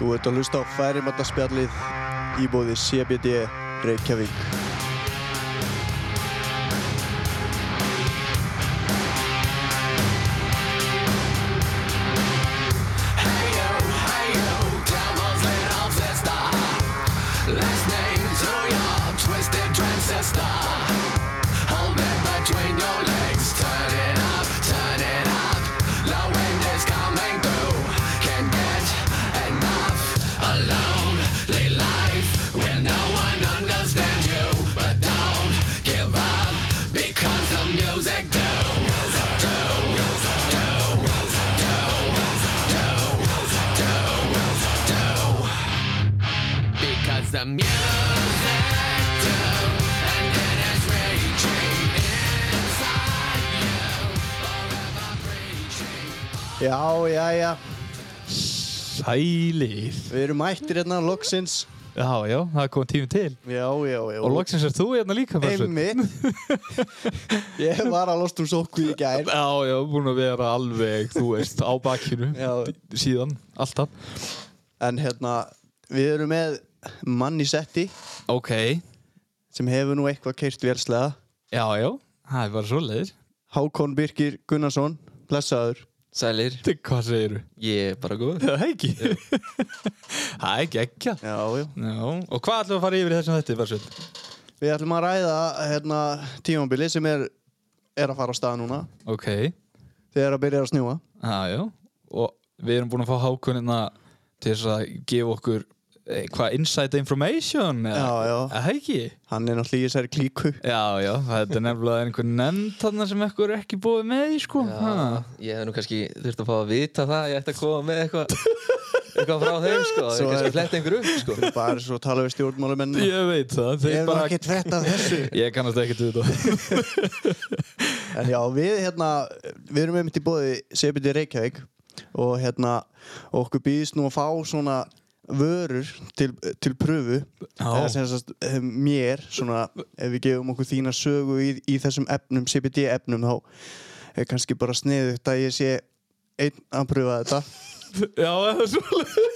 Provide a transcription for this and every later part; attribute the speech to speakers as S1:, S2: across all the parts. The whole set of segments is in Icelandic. S1: Þú ert að hlusta á færimandarspjallið í bóði CBD Reykjavík.
S2: Because the music
S1: Já, já, já.
S3: Sælið
S1: Við erum mættir hérna loksins.
S3: Já, já, það er komið tími til
S1: Já, já, já.
S3: Og loksins er þú hérna líka Bössun.
S1: Einmitt. Ég var að losta um sókvíð í gær.
S3: Já, já, búin að vera alveg, þú veist, á bakkinu
S1: Já.
S3: Síðan, alltaf
S1: En hérna, við erum með mann í setti
S3: Ok
S1: sem hefur nú eitthvað keirt vélslega.
S3: Já, já, það er bara svo leiðir
S1: Hákon Birkir Gunnarsson, blessaður.
S2: Sælir,
S3: Hvað segirðu?
S2: ég er bara góð
S3: Það er ekki Það er ekki ekki
S1: Já, já.
S3: Já, og hvað ætlum við að fara yfir í þessum þetta, Börsveit?
S1: Við ætlum að ræða hérna tímambili sem er, er að fara á stað núna.
S3: Ok,
S1: Þegar að byrja að snjúa.
S3: já, já Og við erum búin að fá hákunina til þess að gefa okkur eh, hvað inside information eða-
S1: Já, já.
S3: Er Það ekki
S1: Hann er náttúrulega í þessari klíku.
S3: Já, já, þetta er nefnilega einhver nefnd þarna sem ekkur er ekki búið með í sko
S2: Já, ég hef nú kannski þurft að fá að vita það Ég ætti að koma með eitthvað Eitthvað frá þeim sko Ég
S1: Svo
S2: kannski
S1: er-
S2: að fletta einhver upp sko
S1: Bara svo að tala við stjórnmálumenn.
S3: Ha, Ég veit það,
S1: Ég
S3: þeir
S1: er
S3: bara
S1: bara ekkert frétt af þessu.
S3: Ég kannast ekkert við þetta
S1: En já, við hérna, við erum einmitt í bóði CBD Reykjavík og hérna, okkur býðist nú að fá svona vörur til, til pröfu eða sem sagt eh, mér svona, ef við gefum okkur þína sögu í, í þessum efnum, CBD efnum þá er kannski bara sniðugt að ég sé einn að pröfa þetta
S3: Já, það er svolítið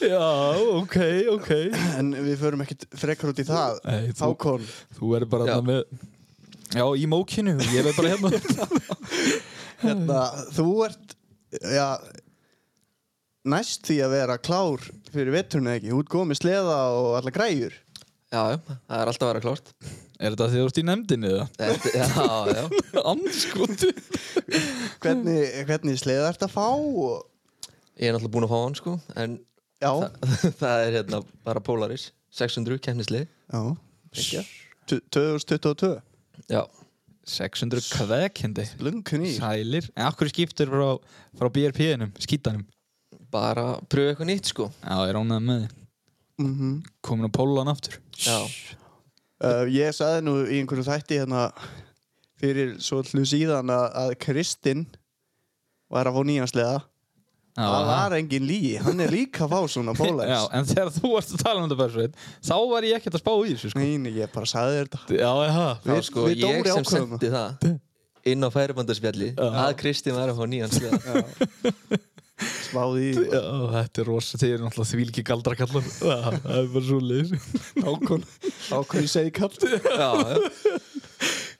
S3: Já, ok, ok
S1: en við förum ekkert frekar út í það
S3: Nei, þú-
S1: Hákon,
S3: Þú verður bara
S2: Já.
S3: þarna með Já, í mókinu, ég verður bara hérna
S1: hérna, þú ert já, næst því að vera klár fyrir veturnu ekki, þú ert góð með sleða og alla græjur
S2: Já, já, það er alltaf að vera klárt
S3: Er þetta því þú ert í nefndinni eða?
S2: Þetta- Já, já
S3: Andskotu
S1: hvernig, hvernig sleða ert að fá og,
S2: Ég er náttúrulega búinn að fá hann sko En
S1: já,
S2: það er hérna bara Polaris 600 kemnislið
S1: já Tu- 2022
S2: Já,
S3: 600 kvekendi
S1: Blunkun í
S3: Sælir En akkur skiptur frá, frá BRP-inum, skítanum
S2: bara pröfu eitthvað nýtt sko
S3: Já, ég ránaði með þið
S1: mm
S3: Komin á Pólan aftur
S2: Já,
S1: uh, Ég saði nú í einhverju þætti hérna fyrir svo hlut síðan að, að Kristinn var að fá nýjan sleða
S3: Já,
S1: það var engin líi, hann er líka að fá svona
S3: Já,
S1: bólæs
S3: en þegar þú varst að tala um þetta Bersveit þá var ég ekkert að spá í þessu sko.
S1: Nei, nei, ég bara saði þér þetta
S3: Já, já
S2: þá
S1: Við-
S2: sko
S1: við
S2: ég
S1: Dóri
S2: sem
S1: ákváðum
S2: sendi það inn á færibandarspjalli að Kristín var að fá nýjan sleða
S1: Sváði í
S3: Já, þetta er rosa, þeir eru náttúrulega því líki galdrakallar Já, það er bara svo leiðis Nákvæm
S1: ákveði segi kallt
S2: Já, já,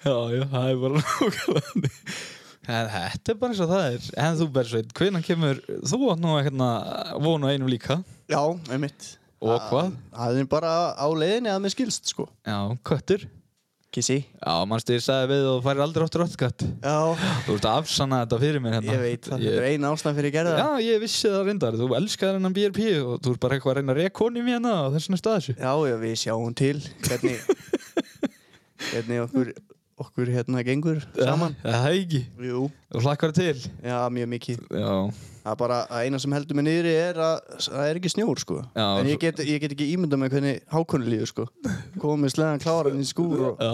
S3: Já, já, það er bara nákvæm En þetta er bara eins og það er En þú Bersveit, hvenær kemur þú átt nú hérna vonu einum líka
S1: Já, einmitt
S3: Og hvað?
S1: Það er bara á leiðinni að mér skilst sko
S3: Já, köttur
S1: Kissi
S3: Já, mannstu ég sagði við og þú færir aldrei áttur áttkött
S1: Já,
S3: Þú ert að afsanna þetta fyrir mér hérna
S1: ég veit það
S3: Ég-
S1: Þetta er eina ástæðan fyrir að gera það
S3: Já, ég vissi það reyndar, þú elskar hennan BRP og þú ert bara eitthvað að reyna að reyna konum hérna og þess vegna staði þessu.
S1: Já, já, við sjáum til hvernig, hvernig okkur, okkur hérna gengur saman.
S3: Já, Það er ekki,
S1: Jú,
S3: þú hlakkar til.
S1: já, mjög mikið.
S3: Já,
S1: Það er bara að eina sem heldur mig niðri er að það er ekki snjór, sko.
S3: Já,
S1: en
S3: svo-
S1: ég get, ég get ekki ímyndað með hvernig hákunni líður, sko. Komið sleðan kláran í skúr og...
S3: já.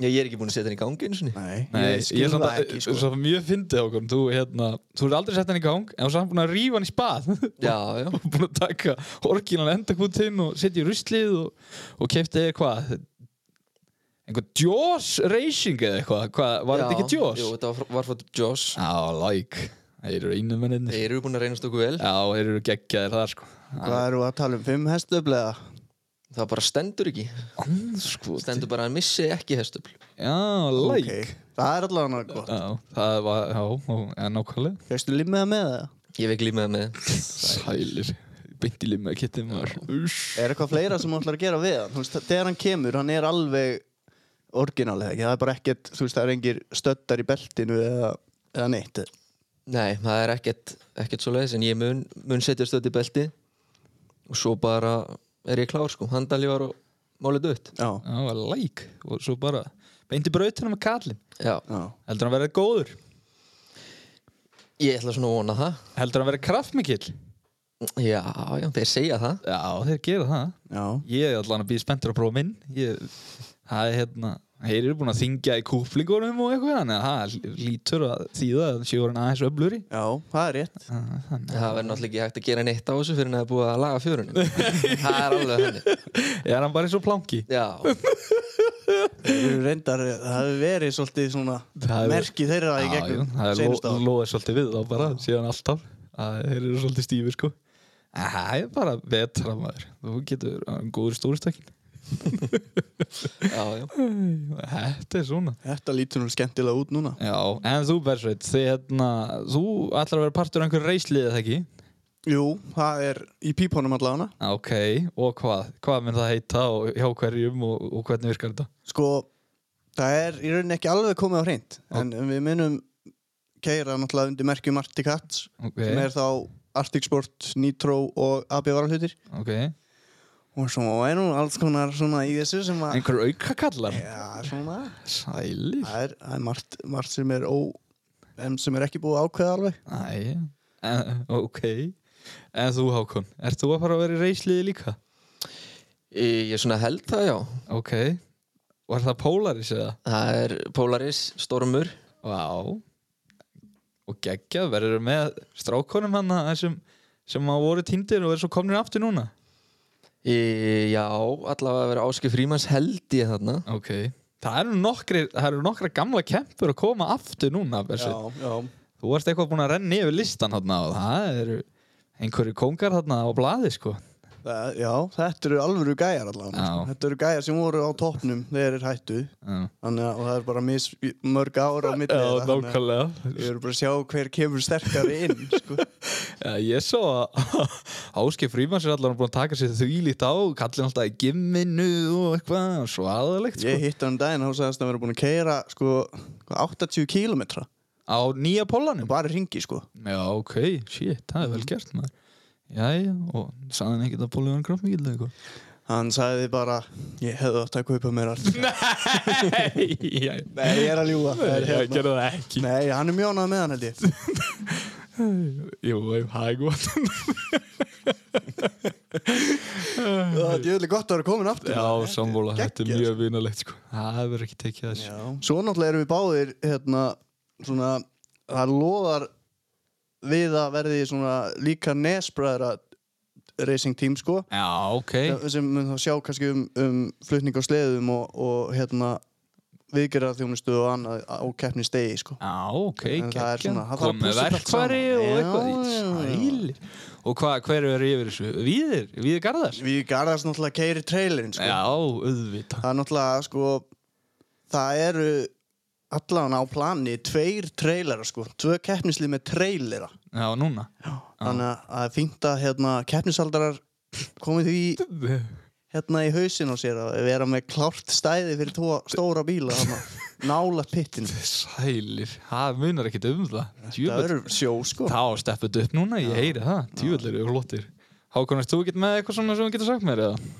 S2: ég er ekki búinn að setja hann í gangi eins og
S1: Nei,
S3: Nei,
S1: ég skil
S3: samt
S1: það
S3: að-
S1: ekki, sko.
S3: Svo mjög fyndið okkur, þú, hérna, þú ert aldrei sett hann í gang en þú samt búin að rífa hann í spað.
S2: Já, já,
S3: og búin að taka orginan endakútinn og setja í ruslið og, og kefti eða hvað? Einhver Jaws Racing eða eitthvað, hvað, var
S2: Já,
S3: þetta ekki Ah. Jaws?
S2: Jú, þetta var, frá- var frá Jaws
S3: Já, like. Þeir eru einu menninni
S2: Þeir eru búin að reynast okkur vel
S3: Já, þeir eru geggjaðir þar sko
S1: Hvað eru að tala um? Fimm hestöflega?
S2: Það bara stendur ekki
S3: Andskot
S2: Stendur bara að missi ekki hestöfl
S3: Já, læk
S1: Það er allavega gott.
S3: Já, það var, já, og- já, nákvæmlega
S1: Fyrstu limmiða með það?
S2: Ég veik límað með
S3: Sælir Beint í limma kittið maður Uss.
S1: Er eitthvað fleira sem þú ætlar að gera við hann? Þú veist, þegar hann kemur, hann er alveg orginalið, ekki? Það er bara ekkert, þú veist, það er engir stöttar í beltinu eða, eða neitt.
S2: Nei, það er ekkert, ekkert svo leiðis En ég mun, mun setja stöð í belti Og svo bara er ég klár sko Handalívar og málið dött
S1: Já,
S3: Já, það var læk Og svo bara Beint í brautina með kallin
S2: Já,
S1: já.
S3: Heldur hann verið góður
S2: ég ætla svona að vona það
S3: Heldur hann verið kraftmikill
S2: Já, já, þeir segja það
S3: Já, þeir gera það
S1: Já,
S3: Ég er allan að býða spenntur að prófa minn ég, Það er hérna Þeir eru búin að þingja í kúflingunum og eitthvað Þannig að það lítur að þýða að séu hann aðeins öfluri
S1: já, það er rétt.
S3: Þannig
S2: Það verður náttúrulega ekki hægt að gera neitt á þessu fyrir en það er búið að laga fjörunum Það er alveg henni
S3: að- er hann bara eins og planki
S2: Já,
S1: Þeir eru reyndar, það hefur verið svolítið svona
S3: Það hefur-
S1: merki þeirra í
S3: Já, já,
S1: gegnum
S3: Það
S1: senust á.
S3: er loðið svolítið við þá bara síðan alltaf að Þeir eru svolítið stífir sko En Það er bara betra maður Þú getur hann góður stóristakkin
S2: já, já
S3: Þetta er svona
S1: Þetta lítur nú skemmtilega út núna.
S3: Já, en þú Bersveit, þið hérna Þú ætlar að vera partur af einhver reisliðið eða ekki
S1: Jú, það er í pípunum allavega.
S3: Ok, og hvað? Hvað mun það heita og hjá hverjum og, og hvernig virkar þetta?
S1: Sko, það er í rauninni ekki alveg komið á hreint en við munum keira náttúrulega undir merkjum Arctic Hats
S3: Ok,
S1: sem er þá Arctic Sport, Nitro og AB varalhutir
S3: ok
S1: og svo er nú alls konar svona í þessu sem að
S3: Einhver aukakallar?
S1: Já, svona
S3: Sælir
S1: Það er, það er margt, margt sem er ó en sem er ekki búið að ákveða alveg
S3: Æ, en, ok En þú Hákon, ert þú að fara að vera í reisliði líka?
S2: Ég er svona held það, já
S3: Ok Var það Polaris eða?
S2: Það er Polaris, Stormur
S3: Vá Og geggjað, verður með strákonum hann sem, sem að voru tindir og er svo komnir aftur núna?
S2: Í, já, allavega að vera Áskei Frímans held ég þarna
S3: Ok Það eru nokkri, það eru nokkra gamla kempur að koma aftur núna Bersveit
S1: já
S3: Þú varst eitthvað búin að renna yfir listan þarna og það eru einhverju kongar þarna á blaði sko.
S1: Það, já, þetta eru alvöru gæjar allavega
S3: Já.
S1: Þetta eru gæjar sem voru á toppnum þegar þeir hættu
S3: Já,
S1: Þannig að og það er bara mis, mörg ára á milli þeirra, þannig að- Við erum bara að sjá hver kemur sterkari inn sko.
S3: Já, ég svo að Áskei Frímans er allan búin að taka sér þvílíkt á, kallin alltaf í gimminu og eitthvað, svo aðalegt sko.
S1: Ég hitt hann um daginn og sagðist að vera búin að keira sko, hvað, 80 km
S3: Á nýja pólanum.
S1: bara í ringi sko.
S3: Já, ok, shit, það er vel gert maður. Jæja, og sagði hann ekkert að pólið var kraftmikið eða eitthvað?
S1: Hann sagði bara ég hefði átt að kaupa mér allt
S3: Nei, jæja.
S1: Nei, ég er að ljúga Það er
S3: Ég
S1: hérna.
S3: gerði það ekki.
S1: Nei, hann er mjónað með hann held ég
S3: Jú, það er gott.
S1: Það er djöðlega gott að vera komin aftur
S3: Já, samvóla, þetta er
S1: geggjað,
S3: mjög vinalegt sko. Það hefur ekki tekið þessu.
S1: Já. Svo náttúrulega erum við báðir hérna, svona, það loðar við að verði svona líka nesbræðra racing team sko
S3: Já, ok.
S1: sem mun þá sjá kannski um, um flutning á sleðum og, og hérna viðgerðar þjónustu og annað á keppni stegi sko.
S3: Já, ok,
S1: En það er
S3: geggjum.
S1: svona- það þarf að
S3: Komið
S1: púsla þetta allt
S3: verkfæri
S1: saman. Já,
S3: og eitthvað í
S1: já, já.
S3: sælir. Og hvað, hver er yfir þessu? Víðir, Víðir Garðar?
S1: Við garðast náttúrulega keiri trailerinn sko.
S3: Já, auðvitað.
S1: Það er náttúrulega sko það eru allan á plani tveir trailera sko tvö keppnislið með trailera
S3: Já, núna.
S1: þannig að það er fínt að hérna, keppnisaldarar komið því hérna í hausin á sér að vera með klárt stæði fyrir tvo stóra bíla þarna, nála pittinu
S3: Sælir, það munar ekkit um það.
S1: það
S3: Djúvel,
S1: eru sjó sko
S3: það á steppið upp núna, ég heyri það. Djúvel eru flottir. Hákon, erst þú ekkert með eitthvað svona sem þú getur sagt mér eða?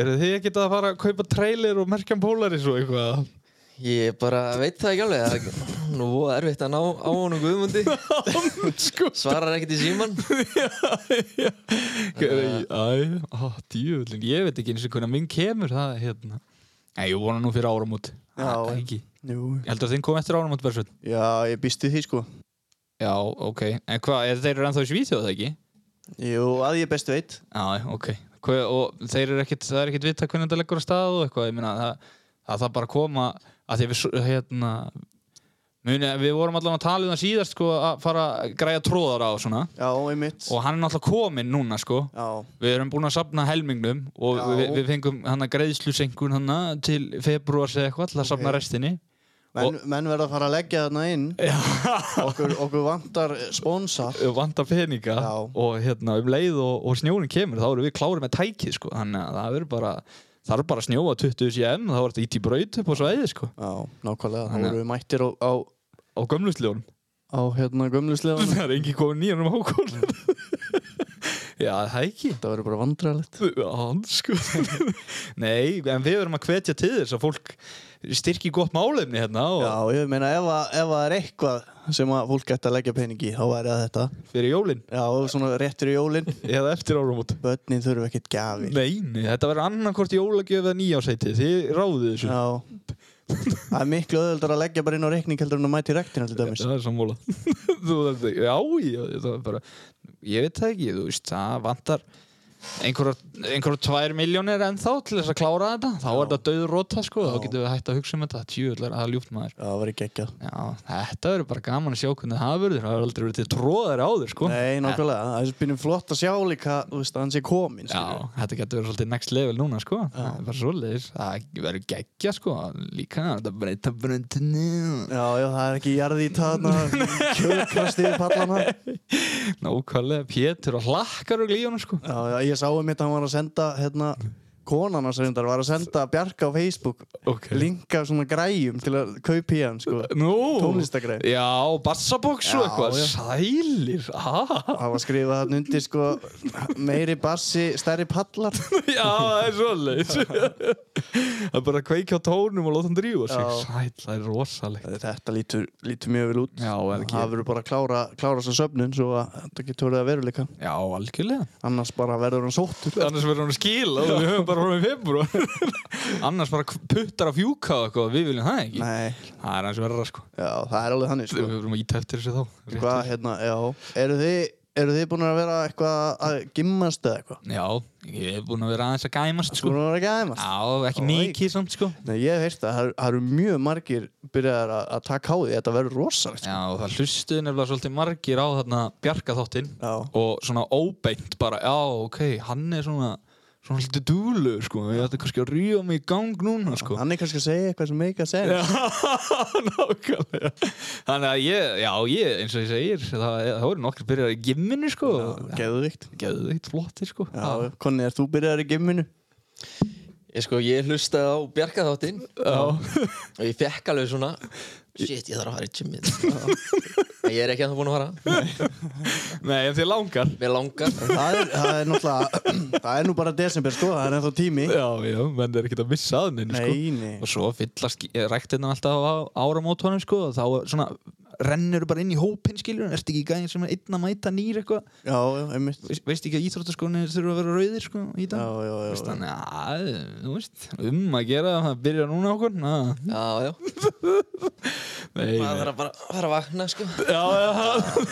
S3: Eru þið ekkert að fara að kaupa trailer og merkjan Polaris og eitthvað?
S2: Ég bara veit það ekki alveg það er Nú voða erfitt að ná á honum guðmundi
S3: sko.
S2: Svarar ekkert í síman
S3: Æ, á, djúvöldin, ég veit ekki eins og hvernig að minn kemur það er hérna Nei, ég vona nú fyrir áramót
S1: Já.
S3: Það er ekki.
S1: Jú.
S3: Ég heldur að þeim kom eftir áramót Bersveit
S1: já, ég býst við því sko
S3: Já, ok, en hvað, er þeir eru ennþá í Svíþjóð það ekki?
S1: Jú, að ég best veit
S3: Já, ok, Hver, og þeir eru ekkit, það er ekkit vita hvernig þetta leggur að stað og eitthvað Ég meina, það, að það bara koma að því að við, svo- hérna Muni, við vorum allan að tala um það síðast sko, að fara að græja tróðar á og svona.
S1: Já, einmitt
S3: og hann er náttúrulega kominn núna sko.
S1: Já,
S3: við erum búin að sapna helmingnum og
S1: Já.
S3: við, við fengum hann að greiðslusenkun hann til februars eða eitthvað til að sapna restinni
S1: menn, menn verða að fara að leggja þarna inn okkur, okkur vantar sponsor
S3: Við vantar eh, peninga
S1: Já.
S3: og hérna um leið og, og snjónin kemur þá erum við klárið með tækið sko. þannig að það verður bara þarf bara að snjóa 20 cm þá er þetta ítt í braut upp á svæði sko,
S1: Já, nákvæmlega, þá
S3: Þannig að-
S1: voru við mættir á, á,
S3: á gömlustljónum
S1: á hérna gömluslefanum
S3: það er engin komin nýjan um hákólum já það er ekki
S1: Það verður bara vandræðilegt
S3: Hans, sko. Nei, en við verum að hvetja til þess að fólk styrki gott málefni hérna og
S1: Já, ég meina ef, að, ef það er eitthvað sem að fólk gæti að leggja pening í þá væri það þetta
S3: fyrir jólinn
S1: Já, og svona réttur í jólin
S3: eða eftir áramót.
S1: Bönnin þurfa ekkert gafir
S3: Nei, nei, þetta verður annarkvort jólagjöf eða nýjásæti, þið ráðu þessu.
S1: Já Það er miklu öðvöldur að leggja bara inn á reikning heldur en að mæti rektina til dæmis
S3: Það er sammála. Þú veist, já, já, það er bara, ég veit það ekki, þú veist, það vantar einhverjar, einhverjar tvær miljónir ennþá til þess að klára þetta, þá er þetta döður róta, sko,
S1: Já.
S3: þá getum við hægt að hugsa um þetta, tjúðlar, það er ljúft maður.
S1: Já, það var ekki ekki
S3: Já, þetta verður bara gaman að sjá hvernig það verður, það verður aldrei verið til tróðar áður, sko.
S1: Nei, nákvæmlega, það er býnum flott að sjá líka þú veist, að hann sé komin skilurðu.
S3: Já, þetta getur verið svolítið next level núna sko Það er bara svolítið, það verður geggja sko Líka, þetta breyta bröndinu
S1: Já, já, það er ekki jarði í taðna Kjölkast yfir pallana Já,
S3: Nákvæmlega, Pétur og hlakkar og glíjónu sko
S1: já, ég sá um þetta að hann var að senda hérna, konan hans reyndar var að senda Bjarka á Facebook
S3: Ok.
S1: linka svona græjum til að kaupi hann sko.
S3: Nú,
S1: Tónlistargrein.
S3: Já, bassabóks og
S1: Já,
S3: eitthvað,
S1: já.
S3: sælir ah.
S1: Það var skrifað hann undir sko, meiri bassi, stærri pallar
S3: Já, það er svolítið Það er bara að kveikja á tónum og láta hann drífa sig
S1: Já.
S3: Sæl, það er rosalegt
S1: Þetta lítur, lítur mjög vel út
S3: Já, eða ekki.
S1: Það verður bara að klára, klára svo söfnun svo að þetta getur verið að veruleika
S3: Já, algjörlega
S1: annars bara verður hann sóttur
S3: annars verður hann að skila og við höfum bara frá með februar annars bara puttar að fjúka og eitthvað, við viljum það ekki
S1: Nei,
S3: það er hans verra sko
S1: já, það er alveg þannig sko.
S3: við verðum að íta eftir þessu þá rétt
S1: Hvað, hérna, já Eru þið, eru þið búin að vera eitthvað að gimmast eða eitthvað?
S3: til. já, ég hef búin að vera aðeins að gæmast sko
S1: Búin að vera ekki aðeimast?
S3: já, ekki
S1: Ó,
S3: mikið samt sko
S1: Nei, ég hef heyrt að það eru- það eru mjög margir byrjaðar að, að taka á því, þetta verður rosalegt sko.
S3: já, það hlustuði nefnilega svolítið margir á þarna bjargaþáttinn
S1: Já.
S3: og svona óbeint bara, já, ok, hann er svona svona hluti dúlur sko ég ætti kannski að ríða mig í gang núna sko
S1: Hann er kannski að segja eitthvað sem meika að segja
S3: Já, nákvæmlega Þannig að ég, já ég, eins og ég segir það, það voru nokkur byrjar í gimminu sko
S1: Geðvikt
S3: Geðveikt flottir sko
S1: Já, Konni, er þú byrjaðar í gimminu?
S2: Ég sko, ég hlustaði á Bjarkaþáttinn
S3: Já.
S2: og ég fekk alveg svona Shit, ég þarf að fara í gymið Ég er ekki að það búin að fara
S3: Nei, en þið langar
S2: Mér langar
S1: Það er, það er náttúrulega, það er nú bara desember sko, það er ennþá tími
S3: Já, já, menn er ekkert að missa að neinu sko
S1: Nei, nei,
S3: Og svo fyllast ræktinnan alltaf á áramótunum sko og þá svona rennur bara inn í hópinn skilur Ertu ekki gæðin sem er einn að mæta nýr eitthvað
S1: já, já, einmitt
S3: Veist- Veistu ekki að íþróttaskóni þurfa að vera rauðir sko í
S1: Já,
S3: dag
S1: já, já,
S3: Veist,
S1: já.
S3: Þannig að, þú veist, um að gera það byrja núna okkur na.
S2: Já, já,
S3: Nei, nei.
S2: maður þarf bara að fara að vakna sko
S3: já, já, já,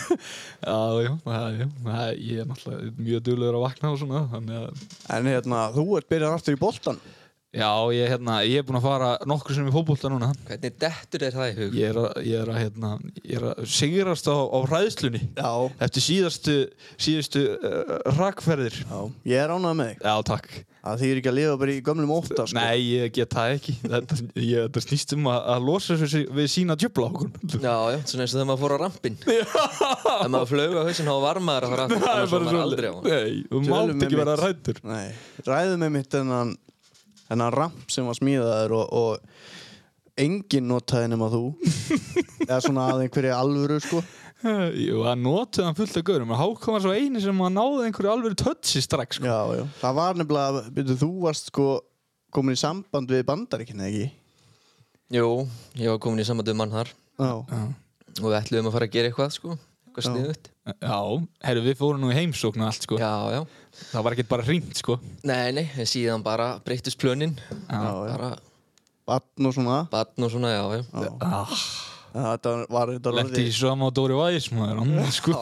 S3: já, já, já, já, ég er náttúrulega mjög duglegur að vakna og svona, þannig að,
S1: En hérna, þú ert byrjaðar aftur í boltan
S3: já, ég er hérna, ég er búinn að fara nokkur sem í fótbolta núna,
S2: Hvernig dettur er það í hug?
S3: ég er að, ég er að, hérna, ég er að sigrast á, á hræðslunni,
S1: Já,
S3: eftir síðastu, síðustu uh, rakferðir,
S1: já, ég er ánægð með þig
S3: já, takk,
S1: Það þýr ekki að lifa bara í gömlum óta sko.
S3: nei, ég get það ekki, þetta, ég, þetta snýst um að, að losa þessu við sína djöfla okkur,
S2: Já, já, svona eins og þegar maður fór á rampinn Þegar maður flög á hausinn þá var maður að fara aftur
S3: það er
S2: annars var
S3: bara
S2: maður aldrei
S3: svo,
S2: á hann.
S3: nei, þú
S1: Tölum
S3: mátt
S1: einmitt.
S3: ekki vera rættur,
S1: Nei, ræðum með mitt þennan þennan ramp sem var smíðaður og, og engin notaði nema þú eða svona að einhverju alvöru sko
S3: Jú, það notuði hann fullt af gaurum en Hákon var svo eini sem að náði einhverju alveg tötsi strax sko.
S1: Já, já, það var nefnilega byrju, þú varst sko komin í samband við bandaríkina ekki
S2: Jú, ég var komin í sambandu mann þar
S1: Já,
S2: og við ætluðum að fara að gera eitthvað sko eitthvað
S1: Já.
S2: sniðut
S3: Já, herru, við fórum nú í heimsókn og allt sko.
S2: já, já,
S3: Það var ekkert bara hringt sko.
S2: nei, nei, en síðan bara breyttist plönin
S1: já, já,
S2: bara
S1: barn og svona
S2: batn og svona, já, já
S1: Já,
S3: ah,
S1: þetta var þetta var
S3: Lendi
S1: orðið
S3: í sama og Dóri Væs maður, annað, sko.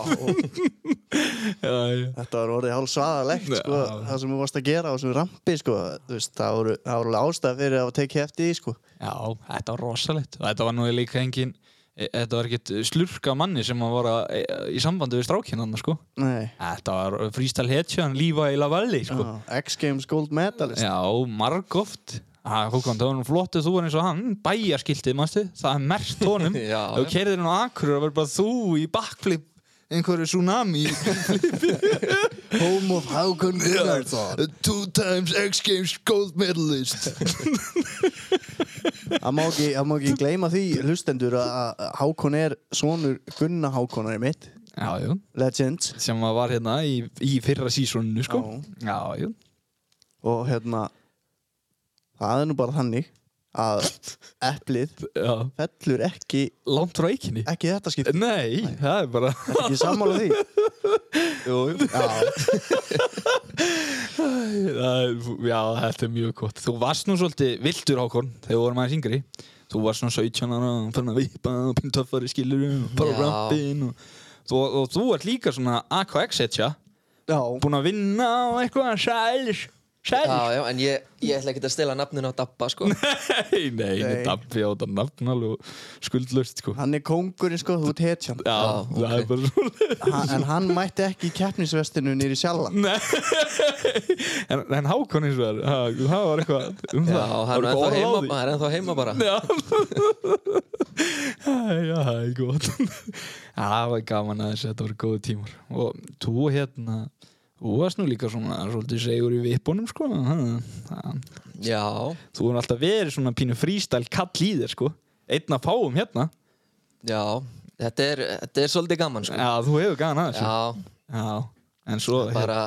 S3: já, já.
S1: Þetta var orðið hálf svaðalegt sko,
S3: Já.
S1: það sem þú varst að gera á þessum rampi sko, þú veist, það voru, það voru alveg ástæða fyrir að tekið eftir því sko
S3: já, þetta var rosalegt og þetta var nú líka engin e- þetta var ekkert slurka manni sem að var að, e- í sambandi við strákinan sko.
S1: Nei
S3: þetta var freestyle headshotjan lífa í lavalli sko.
S1: Já, X Games Gold Medalist
S3: já, margóft Hókan, það var nú flott að þú var eins og hann bæjarskiltið, mannstu, það er mert honum
S2: Já,
S3: ef þú
S2: já.
S3: kerðir hann á akkur það verður bara þú í backflip einhverju tsunami
S1: Home of Hákon Gunnarsson
S2: Two times X Games gold medalist
S1: Það má ekki, það má ekki gleyma því hlustendur að að Hákon er sonur Gunna Hákonar mitt
S3: já, jú
S1: Legend
S3: sem að var hérna í, í fyrra sísoninu sko. Já, jú.
S1: og hérna það er nú bara þannig að eplið
S3: Já.
S1: fellur ekki
S3: Langt frá eikinni.
S1: ekki í þetta skipt,
S3: Nei, það er bara...
S1: ekki sammála því
S2: Jú, jú.
S1: já,
S3: Það er, já, þetta er mjög gott. Þú varst nú svolítið vildur ákorn þegar við vorum aðeins yngri. Þú varst nú 17 ára og fann að vipa og pinn töffari skilurum og bara
S2: Já.
S3: rampin og... Þú, og þú ert líka svona AKX-etja,
S1: já,
S3: búinn að vinna og eitthvað sælis, sælis.
S2: Já, já, en ég, ég ætla ekki að stela nafninu á Dabba sko.
S3: Nei, nei, nei,
S1: Nei.
S3: dabbi á þetta nafn alveg skuldlust, sko. Já,
S1: hann er kóngurinn sko þú ert hetjan,
S2: Já,
S3: það er
S2: ok.
S3: bara svona.
S1: Ha- en hann mætti ekki í keppnisvestinu nýri sjálfa
S3: Nei, en, en Hákon eins og það, ha- það var eitthvað um
S2: Já,
S3: það. Það
S2: hann
S3: var
S2: er
S3: eitthvað
S2: ennþá
S3: orð
S2: heima,
S3: á því.
S2: hann er ennþá heima bara
S3: Já, Æ, já, það er gott. Já, það var gaman að þessu, þetta voru góðu tímar. Og þú hérna, þú varst nú líka svona svolítið segur í vipunum, sko. Ha, ha.
S2: Já,
S3: Þú hefur alltaf verið svona pínu frístæl kall í þér, sko. Einn að fáum hérna.
S2: já Þetta er, þetta er svolítið gaman sko.
S3: Já, þú hefur gaman að þessu.
S2: Já,
S3: Já. En svo, hérna,
S2: bara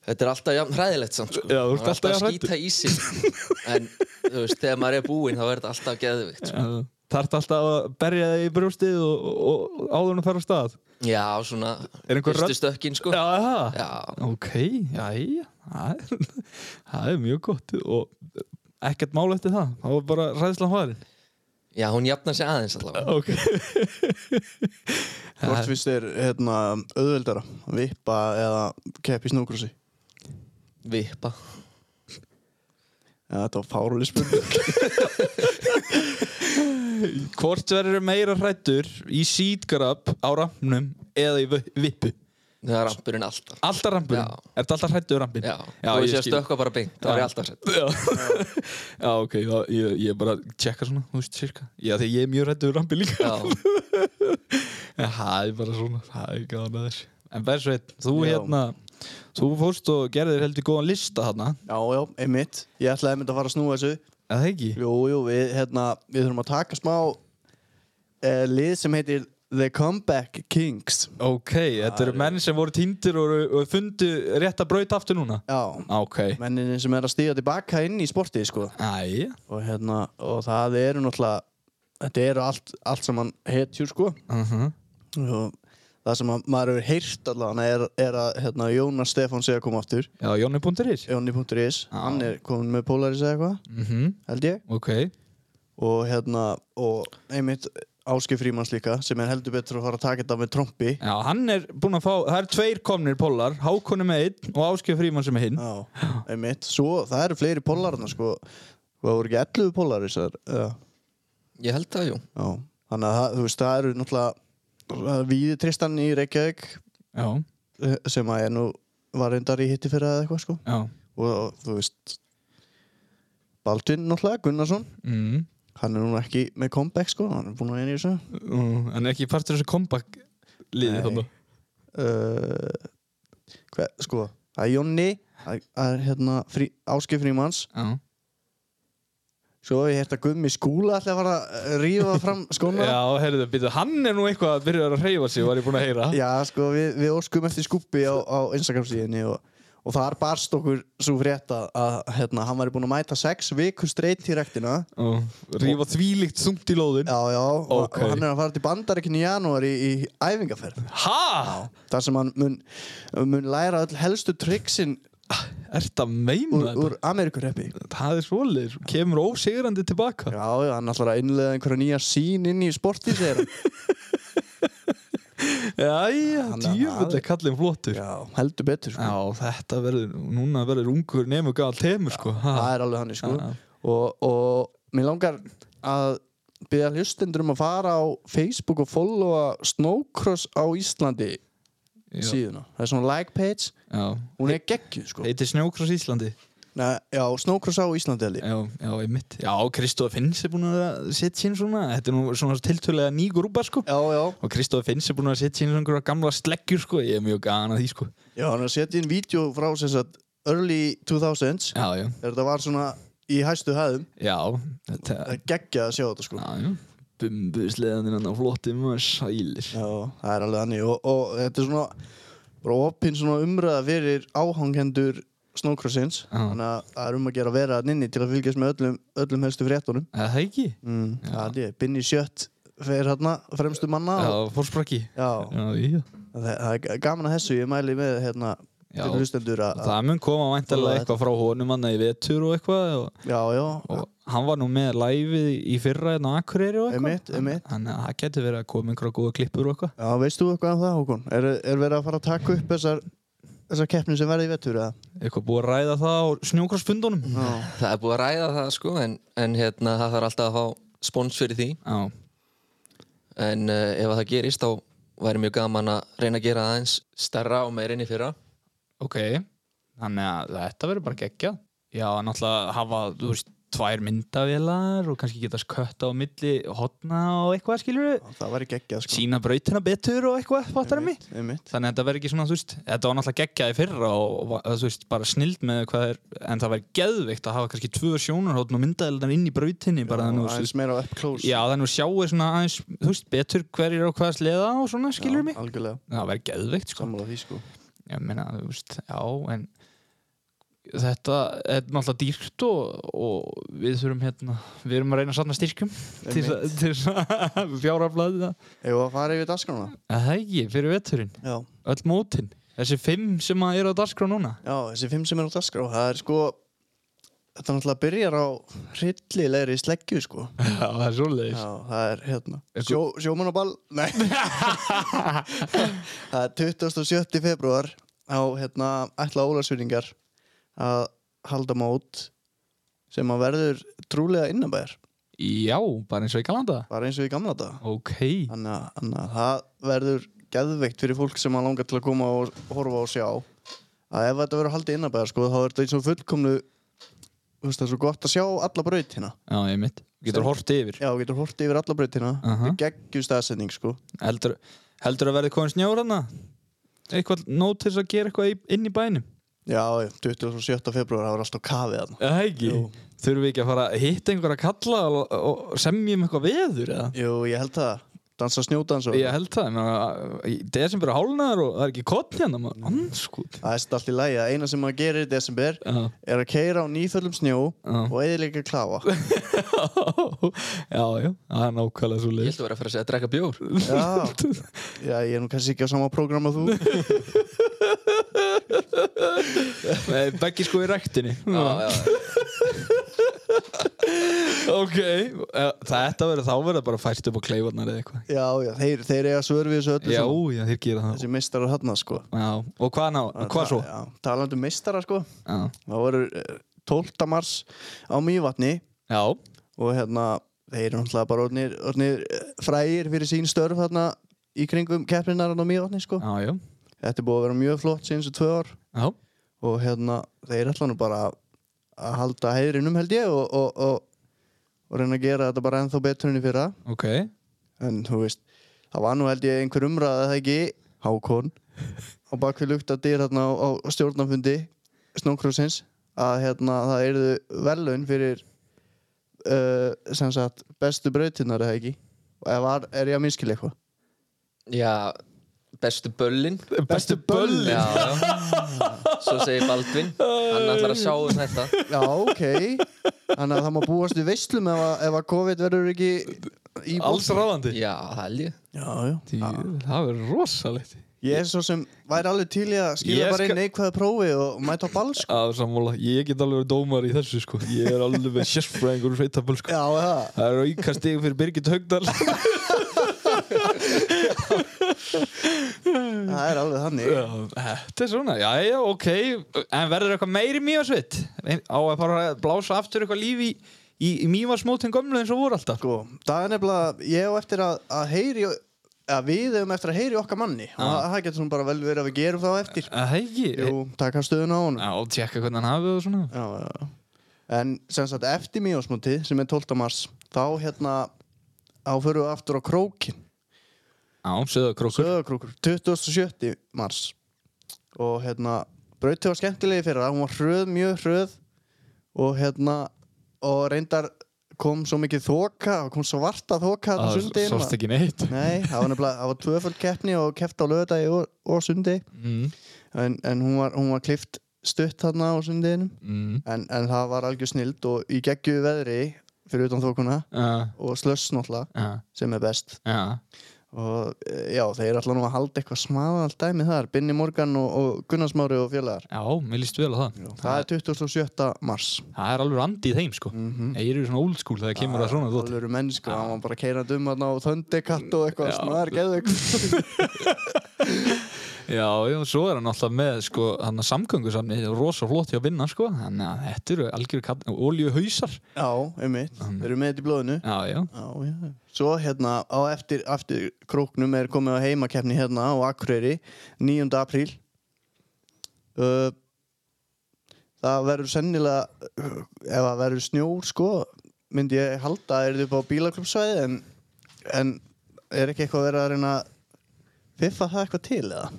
S2: Þetta er alltaf jafn hræðilegt samt sko.
S3: Já, þú
S2: Maður
S3: ert
S2: er
S3: alltaf jafn
S2: að skýta í sig En þú veist, þegar maður er búinn þá er þetta alltaf geðvikt sko.
S3: hérna, þarf alltaf að berja þig í brjóstið og, og, og áður en að fara á stað.
S2: Já, svona
S3: Er einhver
S2: Fyrstu
S3: rödd-
S2: stökkin sko.
S3: Já, það.
S2: Já.
S3: Ok, já, já, það er, það er mjög gott og ekkert mál eftir það, það var bara ræðslan farin.
S2: já, hún jafnar sig aðeins allavega
S3: Ok.
S1: hvort fyrst er hérna, auðveldara vippa eða kepp í snúkrossi
S2: Vippa
S1: já, þetta var fáruleg spurning
S3: Hvort verður meira hrættur í sídgarab á rampnum eða í vi- vippu?
S2: Það er rampurinn alltaf
S3: Alltaf rampur,
S2: Já.
S3: ertu alltaf hrættur við rampin?
S2: Já, já og
S3: ég
S2: ég sé að
S3: skil.
S2: stökka bara beint Það er
S3: Já.
S2: ég alltaf sett
S3: Já, já ok, þá, ég, ég bara tjekka svona, þú veist, cirka. Já, því ég er mjög hrættur við rampin líka.
S2: Já,
S3: En það er bara svona, það er gaman að þessu. En Bersveit, þú
S1: Já.
S3: hérna, þú fórst og gerðir heldur góðan lista þarna,
S1: já, já, einmitt, ég ætlaði einmitt að fara að snúa þessu
S3: eða það ekki?
S1: jú, jú, við, hérna, við þurfum að taka smá eh, lið sem heitir The Comeback Kings
S3: Ok, þetta eru menn sem voru týndir og, og fundu rétt að brauta aftur núna?
S1: já,
S3: Ok.
S1: menninni sem er að stíga tilbaka inn í sportið sko.
S3: Æja,
S1: og, hérna, og það eru náttúrulega þetta eru allt, allt saman hetjur sko.
S3: uh -huh.
S1: og það sem að, maður hefur heyrt allan er, er að hérna, Jónas Stefán sé að koma aftur
S3: já, Jónni Pundurir.
S1: Jónni.is,
S3: Já.
S1: hann er komin með Polaris eða eitthvað,
S3: Mm
S1: held ég
S3: Ok,
S1: og hérna, og einmitt Áski Frímans líka, sem er heldur betur að fara að taka þetta með trompi
S3: já, hann er búinn að fá, það er tveir komnir pollar, Hákonni með einn og Áskei Fríman sem er hinn.
S1: Já, einmitt, svo það eru fleiri polarna sko, það voru ekki 11 polarisar eða
S2: ég held það, jú
S1: Já, þannig að það- þú veist, það eru náttúrulega eh, Víði Tristan í Reykjavík
S3: Já,
S1: eh, sem að er nú var reyndar í hitti fyrir eða eitthvað sko
S3: já.
S1: og þú veist Baldvin náttúrulega, Gunnarsson
S3: Mm.
S1: hann er nú ekki með comeback sko hann er búin að einu í þessu
S3: Mm. Hann er ekki partur þessu comeback liði
S1: Nei.
S3: þarna.
S1: uh, hver, sko, það er Jonni það það er hérna frí, Áskei Frímans
S3: Já.
S1: svo hef ég hérna Gummi Skúla ætla að fara að rífa fram skóna já.
S3: Já, heyrðu, býtu, hann er nú eitthvað að byrja að reyfa sig, var ég búinn að heyra.
S1: sko, við, við óskum eftir skúppi á, á Instagram síðinni og, og þar barst okkur svo frétt að, að hérna, hann væri búin að mæta sex vikur streitt í rektina
S3: Já. Rífa þvílíkt þungt í lóðin.
S1: já, já, og,
S3: Ókei.
S1: og hann er að fara til bandaríkinn í janúar í, í æfingaferð
S3: Ha?
S1: þar sem hann mun, mun læra öll helstu triksin
S3: Er þetta meina
S1: úr,
S3: þetta?
S1: úr Ameríkureppi
S3: Það er svoleiðis, kemur ósigrandi tilbaka
S1: Já, já, hann ætlar að innlega einhverja nýja sín inn í sportið segir hann.
S3: Jæja,
S1: Hann-
S3: djöfull
S1: hann-
S3: er kallinn flottur Já,
S1: Já, heldur betur sko.
S3: þetta verður, núna verður ungur nefnum galt heimur sko ha.
S1: Það er alveg hann sko.
S3: Já.
S1: og, og mér langar að byrja hlustendur um að fara á Facebook og followa Snowcross á Íslandi
S3: já,
S1: síðuna það er svona like page,
S3: já.
S1: hún er geggju sko.
S3: Heitir Snjókross Íslandi
S1: Nei, já, Snowcross á Íslandi held ég.
S3: Já, já, einmitt Já, Kristóð Finns er búin að setja sín svona Þetta er nú svona tiltölega ný grúpa sko
S1: já, já,
S3: Og Kristóð Finns er búin að setja sín svona gamla sleggjur sko Ég er mjög gana því sko
S1: já, hann er að setja inn vídeo frá sem sagt early 2000s
S3: Já, já,
S1: þegar þetta var svona í hæstu hæðum
S3: já Þetta,
S1: það er geggja að sjá þetta sko
S3: já, já Bumbusleðanir hann á flotti maður sælir
S1: já, það er alveg þannig og, og þetta er svona bara opinn svona umræða fyrir áhangendur Snowcrossins
S3: Já.
S1: þannig að það er um að gera að vera hann inni til að fylgjast með öllum, öllum helstu fréttunum
S3: Eða það ekki?
S1: mm,
S3: Já.
S1: það er ég, Binni Sjött fyrir hérna fremstu manna
S3: Já,
S1: og,
S3: fórsprakki
S1: já,
S3: Já, já
S1: það, það er gaman að þessu ég mæli með hérna
S3: Já.
S1: til hlustendur að
S3: Það mun koma
S1: Fólaði
S3: væntalega eitthvað frá honum hann í vetur og eitthvað og,
S1: já, já,
S3: og hann var nú með læfið í fyrra en á Akureyri og eitthvað
S1: Einmitt, einmitt.
S3: Þannig að það getur verið að koma einhverja góða klippur og eitthvað
S1: já, veist þú eitthvað um það Hákon? Er, er verið að fara að taka upp þessar þessar keppnir sem verði í vettur eða?
S3: eitthvað búið að ræða það á snjókrossfundunum
S1: Já,
S2: Það er búið að ræða það sko en, en hérna það þarf alltaf að fá spons fyrir því
S3: Já,
S2: en uh, ef að það gerist þá væri mjög gaman að reyna að gera það eins stærra og meir enn í fyrra
S3: ok Þannig að þetta verður bara geggjað Já, náttúrulega hafa, þú veist, tvær myndavélar og kannski getast kötta á milli hotna og eitthvað, skilur við
S1: það væri geggjað sko
S3: Sýna brautina betur og eitthvað, fattar mig
S1: Einmitt, einmitt.
S3: Þannig að þetta verður ekki svona, þú veist, þetta var náttúrulega geggjað í fyrra og, og, var- þú veist, bara snild með hvað er En það verður geðveikt að hafa kannski tvö sjónarhóttn og myndavélarnar inn í brautinni bara þannig að, þú
S1: aðeins
S3: veist,
S1: meira up close
S3: Já, þannig að sjáu svona aðeins, þú veist, betur hverjir á hvaða sleða og svona, skilur mig
S1: algjörlega,
S3: Það verður geðveikt, sko
S1: sammála því sko
S3: ég meina, þú veist, já, en þetta er náttúrulega dýrt og, og við þurfum hérna, við erum að reyna að sanna styrkjum til þess að- til þess að fjáraflaði það.
S1: Eða að fara yfir dasgrána
S3: Að það ekki, fyrir veturinn,
S1: já.
S3: öll mótin, þessi fimm sem að eru á dagskrá núna.
S1: já, þessi fimm sem er á dasgrá það er sko þetta náttúrulega byrjar á hryllilegri sleggju sko
S3: Já, það er
S1: já,
S3: svoleiðis.
S1: það er hérna
S3: Eitthvað-
S1: Sjó, sjómanaball, nei það er 27. februar á hérna ætla ólarsvinningar að halda mót sem að verður trúlega innabæðir
S3: Já, bara eins og í Galanda.
S1: bara eins og í gamla daga
S3: Ok,
S1: Þannig að- þannig að það verður geðveikt fyrir fólk sem að langar til að koma og horfa og sjá að ef þetta verður haldið innabæðar sko þá er þetta eins og fullkomnu þú veist það er svo gott að sjá alla brautina
S3: já, ég mitt. Getur hort yfir.
S1: já, þú getur hortið yfir alla brautina uh
S3: Aha.
S1: -huh. geggjum staðsetning sko
S3: Heldur, heldur að verði komin snjór hana? Eitthvað nót til þess að gera eitthvað í- inn í bænum?
S1: já, já, 27. februar það var alltaf kafið þarna
S3: Það ekki?
S1: Jú.
S3: Þurfum við ekki að fara að hitta einhverja kalla og, og semja um eitthvað veður eða?
S1: jú, ég held það dansa snjódans og
S3: Ég held það, ég meina, í desember er hálnaður og það er ekki koll hérna, maður, anskut.
S1: það er samt allt í lagi að eina sem maður gerir í desember
S3: Já,
S1: er að keira á nýföllum snjó
S3: Já.
S1: og eðilega klafa
S3: já, já, það er nákvæmlega svo
S2: Ég
S3: leið.
S2: held að vera að fara að segja að drekka bjór
S1: já. já, ég er nú kannski ekki á sama prógram að þú
S3: Nei, beggi sko í rektinni.
S2: Já, já,
S3: Ok, eh, þetta verður þá verður bara fært upp á kleifarnar eða eitthvað.
S1: Já, já, þeir, þeir eiga svör við þessu öllu
S3: Já,
S1: saman.
S3: já, þeir gera það.
S1: Þessi meistarar hann, sko
S3: Já, og hvað, ná, hvað svo?
S1: Já, talandi um meistara, sko
S3: Já,
S1: Það voru eh, 12. mars á Mývatni
S3: já,
S1: og hérna, þeir eru náttúrulega bara orðnir, orðnir eh, frægir fyrir sín störf þarna í kringum keppninar á Mývatni, sko
S3: já, já,
S1: Þetta er búið að vera mjög flott síðan svo tvö ár
S3: já,
S1: og hérna, þeir ætla nú bara að- að halda heiðrinum, held ég og, og, og, og reyna að gera þetta bara ennþá betur enn í fyrra
S3: ok.
S1: en þú veist, það var nú held ég einhver umræða það ekki, Hákon á bakvið lukta dyr hérna á, á stjórnafundi Snókrósins að hérna það erðu velun fyrir uh, sem sagt bestu brautinar eða ekki og ef var, er ég að minnskila eitthvað
S2: já Bestu böllin
S3: Bestu böllin.
S2: Já, já Svo segir Baldvin Hann ætlar að sjá um þetta
S1: já ok þannig að það má búast við veislum ef að, ef að COVID verður ekki í
S3: Alls
S1: botni.
S3: ráðandi.
S2: Já, það held ég
S1: já, já.
S3: Djú, það verður rosalegt
S1: ég er svo sem væri alveg til í að skila
S3: Ég
S1: bara
S3: skal-
S1: inn neikvæða prófi og mæta á ball sko.
S3: að sammála, ég get alveg verið dómar í þessu sko. ég er alveg sérfræðingur sveitaböl sko.
S1: já, já
S3: það er auka stig fyrir Birgit Haugdal
S1: það er alveg þannig
S3: þetta er svona, já já ok en verður eitthvað meiri mjög sveit á að fara að blása aftur eitthvað lífi í, í, í mývarsmótin gömlu eins og voru alltaf
S1: Sko, það er nefnilega, ég á eftir að, að heyri, að við hefum eftir að heyri okkar manni. Það það getur svona bara vel verið að við gerum það á eftir.
S3: Það ekki
S1: Jú, taka stöðuna á honum.
S3: e- Já, og tjekka hvernig hann hafið og svona
S1: Já, já, já. En sem sagt, eftir mjósmótið, sem er 12. mars, þá hérna, þá förum við aftur á krókin.
S3: Já, söðu krókur
S1: Söðakrókur, 27. mars. Og hérna, brautið var skemmtilegi fyrir það, hún var hröð, mjög hröð. Og hérna, og reyndar kom svo mikið þoka, kom svarta þoka þarna sundin.
S3: Sást ekki neitt
S1: Nei, það var nefnilega, það var tvöföld keppni og keppt á lögadagi og, og sundi
S3: mm,
S1: en, en hún var, hún var klift stutt þarna á sundiðinum
S3: mm.
S1: en, en það var algjör snild og í geggju veðri fyrir utan þókuna
S3: Uh,
S1: og slöss náttúrulega
S3: uh,
S1: sem er best
S3: uh.
S1: og eh, já, þeir er alltaf nú að halda eitthvað smaðan dæmi þar, Binni Morgan og, og Gunnars Mári og fjölaðar
S3: Já, mér líst vel á það
S1: Það er 27. mars
S3: Það er alveg andi í þeim sko mm
S1: Mhm.
S3: -hmm. Ég er svona old school þegar kemur að svona þótt
S1: Það eru mennska, hann var bara keirandi um hann á Thundercat og eitthvað snar, geðveik
S3: Já, já, svo er hann alltaf með sko hann að samgöngusamni, það er rosa flott hjá að vinna sko Þannig að þetta eru algjör oljuhausar
S1: Já, einmitt, þeir eru með þetta í blóðinu
S3: Já, já,
S1: Já, já. Svo hérna á eftir, eftir króknum er komið á heimakeppni hérna á Akureyri 9. apríl uh, Það verður sennilega uh, ef það verður snjór sko myndi ég halda að er þetta upp á bílaklubsvæði en, en er ekki eitthvað að vera að reyna að fiffa það eitthvað til eða?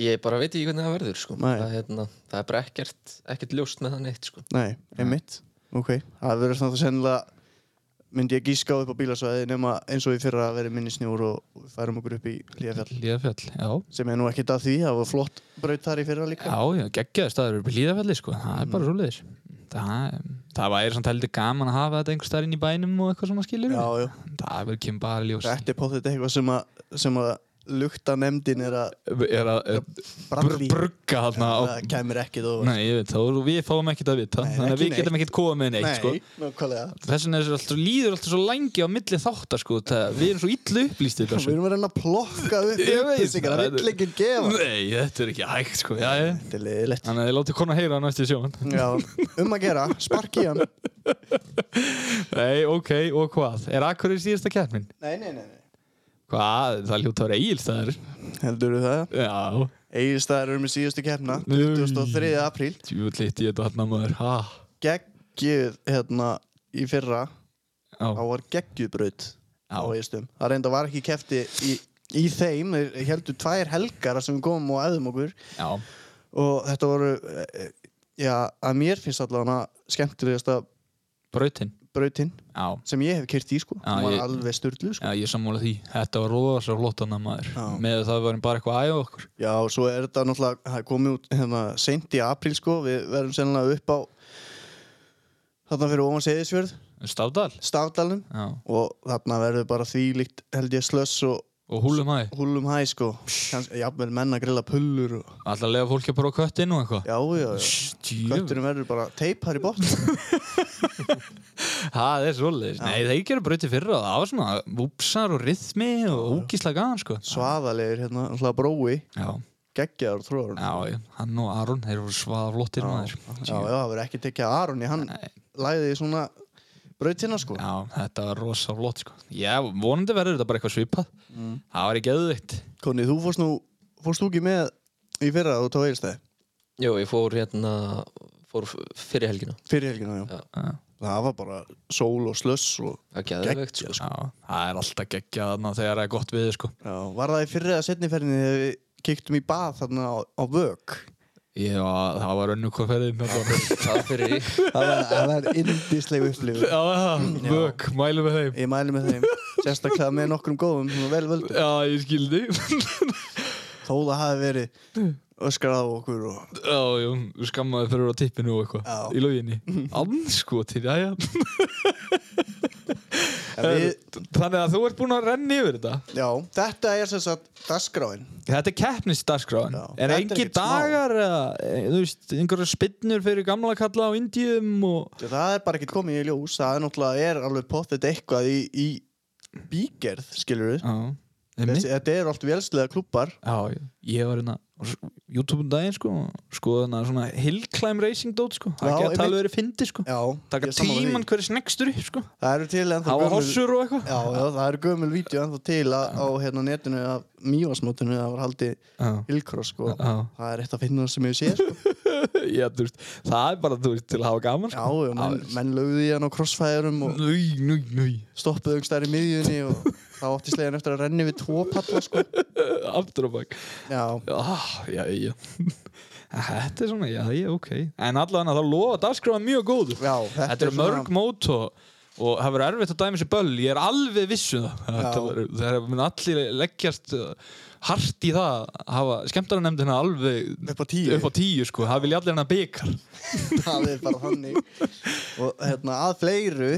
S2: Ég bara veit ekki hvernig það verður sko.
S1: Nei.
S2: það, hérna, það er bara ekkert, ekkert ljóst með það neitt sko.
S1: Nei, einmitt Ok, það verður svona sennilega myndi ég gíska upp á bílasvæði nema eins og í fyrra að verður minni snjór og og við færum okkur upp í Líðafjall
S3: líðafjall, já
S1: sem er nú ekkert að því, það var flott braut þar í fyrra líka
S3: Já, já, geggjaði staður upp í líðafelli sko, það
S1: Mm.
S3: er bara svoleiðis Það, það væri samt heldur gaman að hafa þetta einhver staðar inn í bænum og eitthvað svona skilur
S1: já, já.
S3: Það verður kemur bara í ljós
S1: þetta er potið eitthvað sem að, sem að lukta nefndin er að
S3: Er að er,
S1: bralla
S3: br
S1: í.
S3: brugga þarna á,
S1: það kemur ekki þó
S3: Nei, ég veit, þá erum við fáum ekkert að vita
S1: Nei,
S3: Þannig að
S1: ekki
S3: við getum ekkert komið með neitt sko
S1: nákvæmlega
S3: Þess vegna er þessu alltaf, líður alltaf svo lengi á milli þáttar sko, það, við erum svo illu upplýstir
S1: við erum að reyna að plokka upp
S3: Ég veit
S1: upplýsingar,
S3: það.
S1: það vill ekki gefa
S3: Nei, þetta er ekki hægt sko, já, já
S1: þetta er leiðilegt
S3: Þannig að ég láti konar heyra hann eftir sjóðan
S1: já, um að gera, sparki hann
S3: Nei, ok, og hvað? Er Akureyri síðasta keppnin?
S1: nei, nei, nei, nei.
S3: Hvað? Það ljótaður eigilstæður
S1: heldur þú það
S3: Já,
S1: Egilstaðar eru með síðustu keppna
S3: Nei.
S1: 23. apríl
S3: djúvillitt ég þetta hann að maður ha.
S1: geggjuð hérna í fyrra
S3: Já,
S1: þá var geggjubraut á
S3: Já.
S1: Ístum það reynda var ekki kefti í, í þeim þeir heldur tvær helgar sem við komum og æðum okkur
S3: já,
S1: og þetta voru eh, já, að mér finnst allavega skemmtilegasta
S3: brautin
S1: brautin
S3: Já,
S1: sem ég hef kyrt í sko
S3: Já,
S1: hún var
S3: ég-
S1: alveg styrlu sko
S3: já ég er sammála því Þetta var rosa flott hann að maður
S1: Já.
S3: Með það varum bara eitthvað að æfa okkur
S1: já, og svo er þetta náttúrulega það er komið út hérna seint í apríl sko við verðum sennilega upp á þarna fyrir ofan Seyðisfjörð
S3: Stafdal
S1: Stafdalum
S3: Já,
S1: og þarna verður bara þvílíkt held ég slöss og
S3: og húlum aði
S1: húlum hæ sko kannski, jafnvel menn að grilla pullur og...
S3: Alltaf lega fólki að prófa köttin og eitthvað
S1: já, já, já
S3: Stjöf,
S1: Kötturinn verður bara teipar í botn
S3: það er svoleiðis Nei, þeir gera brauti fyrra Það var svona vúpsar og rithmi og úkisla gaman sko
S1: Svaðalegur hérna, hlað brói
S3: Já,
S1: Geggjaður þróður Já,
S3: já, já, hann og Aron Þeir voru svaða flottir maður
S1: já, það verður ekki tekið að Aron í hann Læði í svona brautina sko
S3: Já, þetta var rosa flott sko Já, vonandi verður þetta bara eitthvað svipað
S1: Mm.
S3: Það var ekki auðvitt
S1: Konni, þú fórst nú, fórst þú ekki með í fyrra að þú tóð eilstæði
S2: Jó, ég fór hérna fór f- fyrir helgina
S1: Fyrir helgina, já.
S2: Já.
S3: Já.
S1: Það var bara sól og slöss og
S2: Það geðvegt sko.
S3: Já, það er alltaf geggjað þarna þegar það er gott við sko.
S1: já, Var það í fyrra eða setni ferðinni þegar við kiktum í bað þarna á, á vök
S3: Ég var, það var önnu hvað ferðið með það.
S2: sko. Það fyrir
S1: Það var, það var indisleg upplifun
S3: Já, vök, mælum við þeim.
S1: Ég mæli með þeim, sérstaklega með nokkrum góðum sem vel völdu
S3: Já, ég skildi.
S1: þó það hafi verið öskrað á okkur og
S3: Já, já, skammaði fyrir á tippinu og
S1: Já.
S3: eitthvað. Í loginni. Anskotir, já, já.
S1: En við,
S3: Þannig að þú ert búinn að renna yfir þetta.
S1: já, þetta er sem sagt dagskráin
S3: Þetta er keppnisdagskráin.
S1: Já.
S3: Er
S1: Þetta er
S3: engi
S1: ekkert smá.
S3: dagar, eða, e, þú veist, einhverja spinnur fyrir gamla kalla á Indium og...
S1: það er bara ekkert komið í ljós það er náttúrulega er alveg pottet eitthvað í, í bígerð skilur við
S3: Já, einmitt.
S1: Þessi, þetta eru allt velslega klubbar
S3: Já, já, ég var hérna YouTube um daginn sko sko þannig svona hill climb racing dót sko
S1: Já,
S3: það er ekki að
S1: einmitt.
S3: tala verið fyndi sko
S1: Já,
S3: taka
S1: ég er sammála því.
S3: tíman hverju snekstur upp sko
S1: Það eru til ennþá
S3: hafa
S1: gömul-
S3: hossur og eitthvað
S1: Já, já, það eru gömul vídeo ennþá til að, á hérna netinu af mývasmótinu það var haldið
S3: Já.
S1: hillcross sko.
S3: Já.
S1: Það er eitt af finnum sem ég sé sko.
S3: Já, þú veist, það er bara þú veist, til að hafa gaman sko.
S1: Já, já, menn, menn lögðu í hann á crossfæðurum og
S3: Núi, núi, núi
S1: stoppuðu einhvers staðar í miðjunni og þá átti slegin eftir að renni við tvo palla sko.
S3: aftur á bak
S1: Já,
S3: ah, já, já þetta er svona, já, já, ok en allavega þá lofa dagskráðan mjög góð
S1: já
S3: þetta, eru mörg mót og, og það verður erfitt að dæmi sér böll ég er alveg vissu það Þetta verður- það er- mun allir leggjast uh, hart í það að hafa skemmtarnefndina alveg
S1: Upp á tíu.
S3: upp á tíu sko, það vilja allir hana byggar
S1: það er bara þannig og hérna að fleiru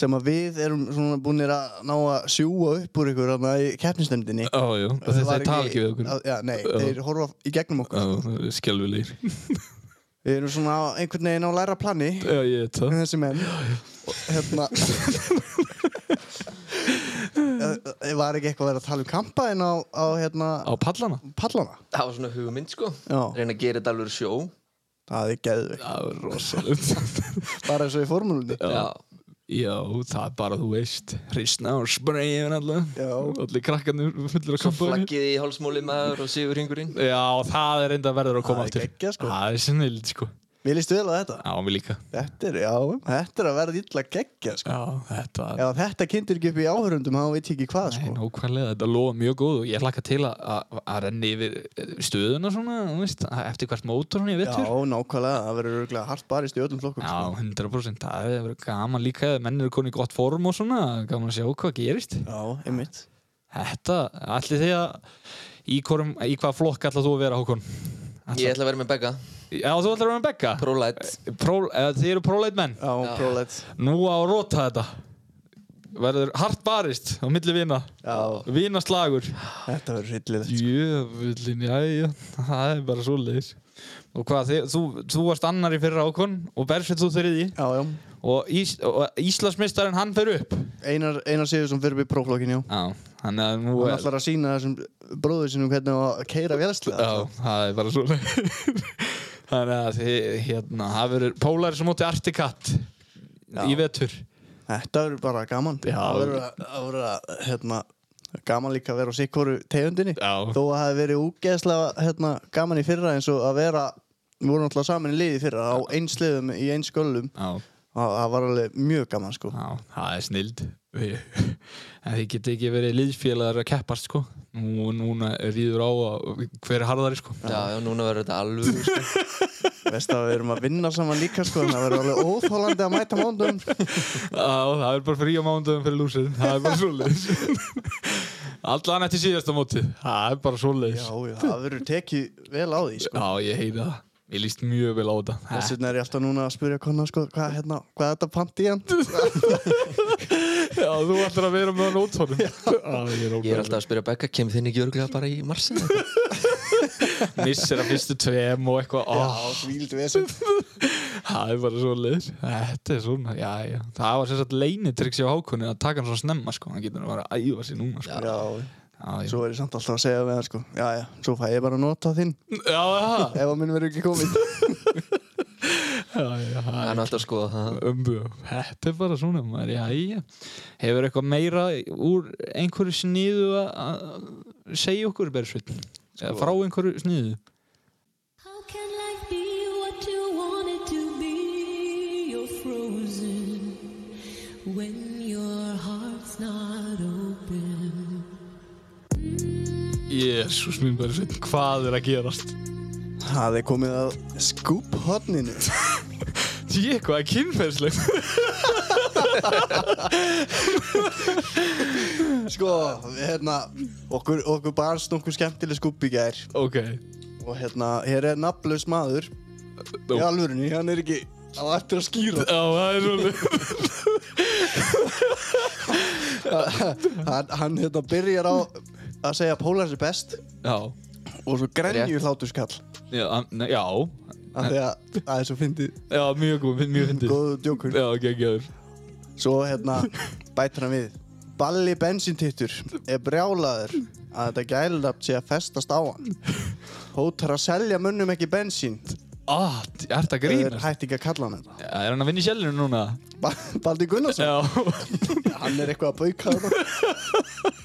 S1: sem að við erum svona búinir að ná að sjúa upp úr ykkur þarna í keppnisnefndinni
S3: ójú, þeir
S1: var
S3: tala ekki við okkur
S1: að- já, nei, þeir horfa í gegnum okkur
S3: skjálfilegir
S1: við erum svona á- einhvern veginn á læra plani
S3: já, ég veit það
S1: með þessi menn og hérna Eh, var ekki eitthvað að vera að tala um kampaðin á, á hérna
S3: á pallana
S1: pallana
S2: það var svona hugmynd sko
S1: Já.
S2: reyna að gera þetta alveg sjó
S1: það er geðveikt,
S3: það er rosalegt
S1: bara eins og í formúlunni
S3: Já, já, það er bara, þú veist, hrisna og spraya yfir allavega.
S1: Já.
S3: Allir krakkarnir fullir að
S2: svo
S3: kampaðinni.
S2: flaggið í hálsmóli maður og sigur hringurinn
S3: Já, það er enda verður að koma
S1: Það er
S3: aftur.
S1: geggjað, sko.
S3: Það er sinnild, sko.
S1: mér líst vel á þetta
S3: Já, mér líka.
S1: þetta er, já, þetta er að vera illa geggja sko.
S3: Já, þetta er...
S1: ef að þetta kindir ekki upp í áhörundum þá veit ég ekki hvað
S3: Nei,
S1: sko.
S3: nákvæmlega, þetta lofa mjög góð og ég hlakka til að- að að renni yfir eh, stöðuna svona, þú veist, að- eftir hvert mótor svona í
S1: já,
S3: vettur.
S1: nákvæmlega, það verður örugglega hart barist í öllum flokkum
S3: Já,
S1: sko.
S3: 100%, það hefur verið gaman líka ef menn eru konið í gott form og svona, gaman að sjá hvað gerist.
S1: já, einmitt
S3: Þetta, allir því að í, hvorum, í hvað flokk ætlar þú að vera Hákon?
S2: ég ætla að vera með begga
S3: Já, þú ætlar að vera með Begga?
S2: prólætt
S3: Pro, eða, þið eru próleit menn
S1: já,
S2: Já.
S1: prólet
S3: Nú á að róta þetta Verður hart barist á milli vina
S1: já,
S3: Vina slagur
S1: þetta verður hryllilegt sko.
S3: Jöfullin, jæja Það er bara svo leiðis Og hvað, þið, þú, þú varst annar í fyrra ákon Og Bersveit þú þriði
S1: já, já,
S3: Og, Ís, og Íslandsmeistarinn hann fer upp
S1: einar, einar séu sem fyrir við próflokkin, já
S3: Já, hann er nú
S1: hann
S3: er
S1: ætlar að sína þessum bróður sinum hvernig á að sko. keira vélslega
S3: Já, það er bara svo leiðis Þannig að þið, hérna, það verður Pólar sem móti Artikat
S1: Já.
S3: Í vetur
S1: þetta verður bara gaman
S3: Já.
S1: það verður að- það verður að, hérna gaman líka að vera á sikkoru tegundinni
S3: Já.
S1: þó að það hefði verið úgeðslega hérna, gaman í fyrra eins og að vera við vorum alltaf saman í liði í fyrra á einsliðum í eins göllum
S3: Já
S1: og það var alveg mjög gaman sko
S3: Já, það er snild En þið geti ekki verið liðfélagar að keppast sko Nú, Núna rýður á að hver er harðari sko
S2: já, já, núna verður þetta alveg sko.
S1: veist að við erum að vinna saman líka sko en það verður alveg óþólandi að mæta mándum sko.
S3: Já, það er bara frí á mándöðum fyrir lúsin Það er bara svoleiðis Allan eftir síðasta móti Það er bara
S1: já,
S3: svoleiðis Já,
S1: já, það verður tekið vel á því sko
S3: ég heyri það Ég líst mjög vel á þetta
S1: Þess vegna er ég alltaf núna að spyrja konna sko, hvað, hérna, hvað er þetta pant í hann?
S3: Já, þú ætlar að vera með nótónum Ég
S2: ég er alltaf að spyrja begga kemur þinn ekki örglega bara í marsin
S3: Missir að fyrstu tveim og eitthvað
S1: Já,
S3: oh,
S1: svíld vesend.
S3: Það er bara svo leiðis Þetta er svona, já, já Það var sem sagt leinitryggs hjá Hákonni að taka hann svona snemma sko. hann getur að vera að æfa sér núna sko.
S1: Já,
S3: Já, já,
S1: svo er ég samt alltaf að segja við hann sko, já, já, svo fæ ég bara að nota þinn
S3: já, já,
S1: ef að minn verður ekki komið.
S3: já, já, já.
S2: hann er alltaf sko það
S3: Umbu, þetta er bara svona maður, já, já. Hefur eitthvað meira úr einhverju sniðu að- að segja okkur Bersveitin? Sko. Frá einhverju sniðu?
S4: How can life be what you want it to be? You're frozen when your heart's not open.
S3: Jésús minn Bersveitin, hvað er að gerast?
S1: Það er komið að skúp hotninu.
S3: Ég, hvað er kynferðslegt?
S1: Sko, hérna, okkur, okkur barst nokkuð skemmtileg skúp í gær
S3: ok,
S1: og hérna, hér er nafnlaus maður
S3: Nú.
S1: í alvörunni, hann er ekki á eftir að skýra.
S3: já, það er svona
S1: Hann, hann hérna byrjar á að segja Pólans er best
S3: Já,
S1: og svo grenju hláturskall
S3: já, hann- nei, já,
S1: af því að það er svo fyndið
S3: Já, mjög góð, mjög fyndið
S1: góðu djókur
S3: Já, geggjaður
S1: svo hérna bætir hann við Balli bensintittur er brjálaður að þetta gælunafn sé að festast á hann Hótar að selja mönnum ekki bensín
S3: Ah, ég ert
S1: Þeir
S3: að grínast.
S1: hætti ekki að kalla hann þetta.
S3: Já, Er hann að vinna í sjælinu núna?
S1: Ba- Baldur Gunnarsson
S3: Já,
S1: Hann er eitthvað að bauka hann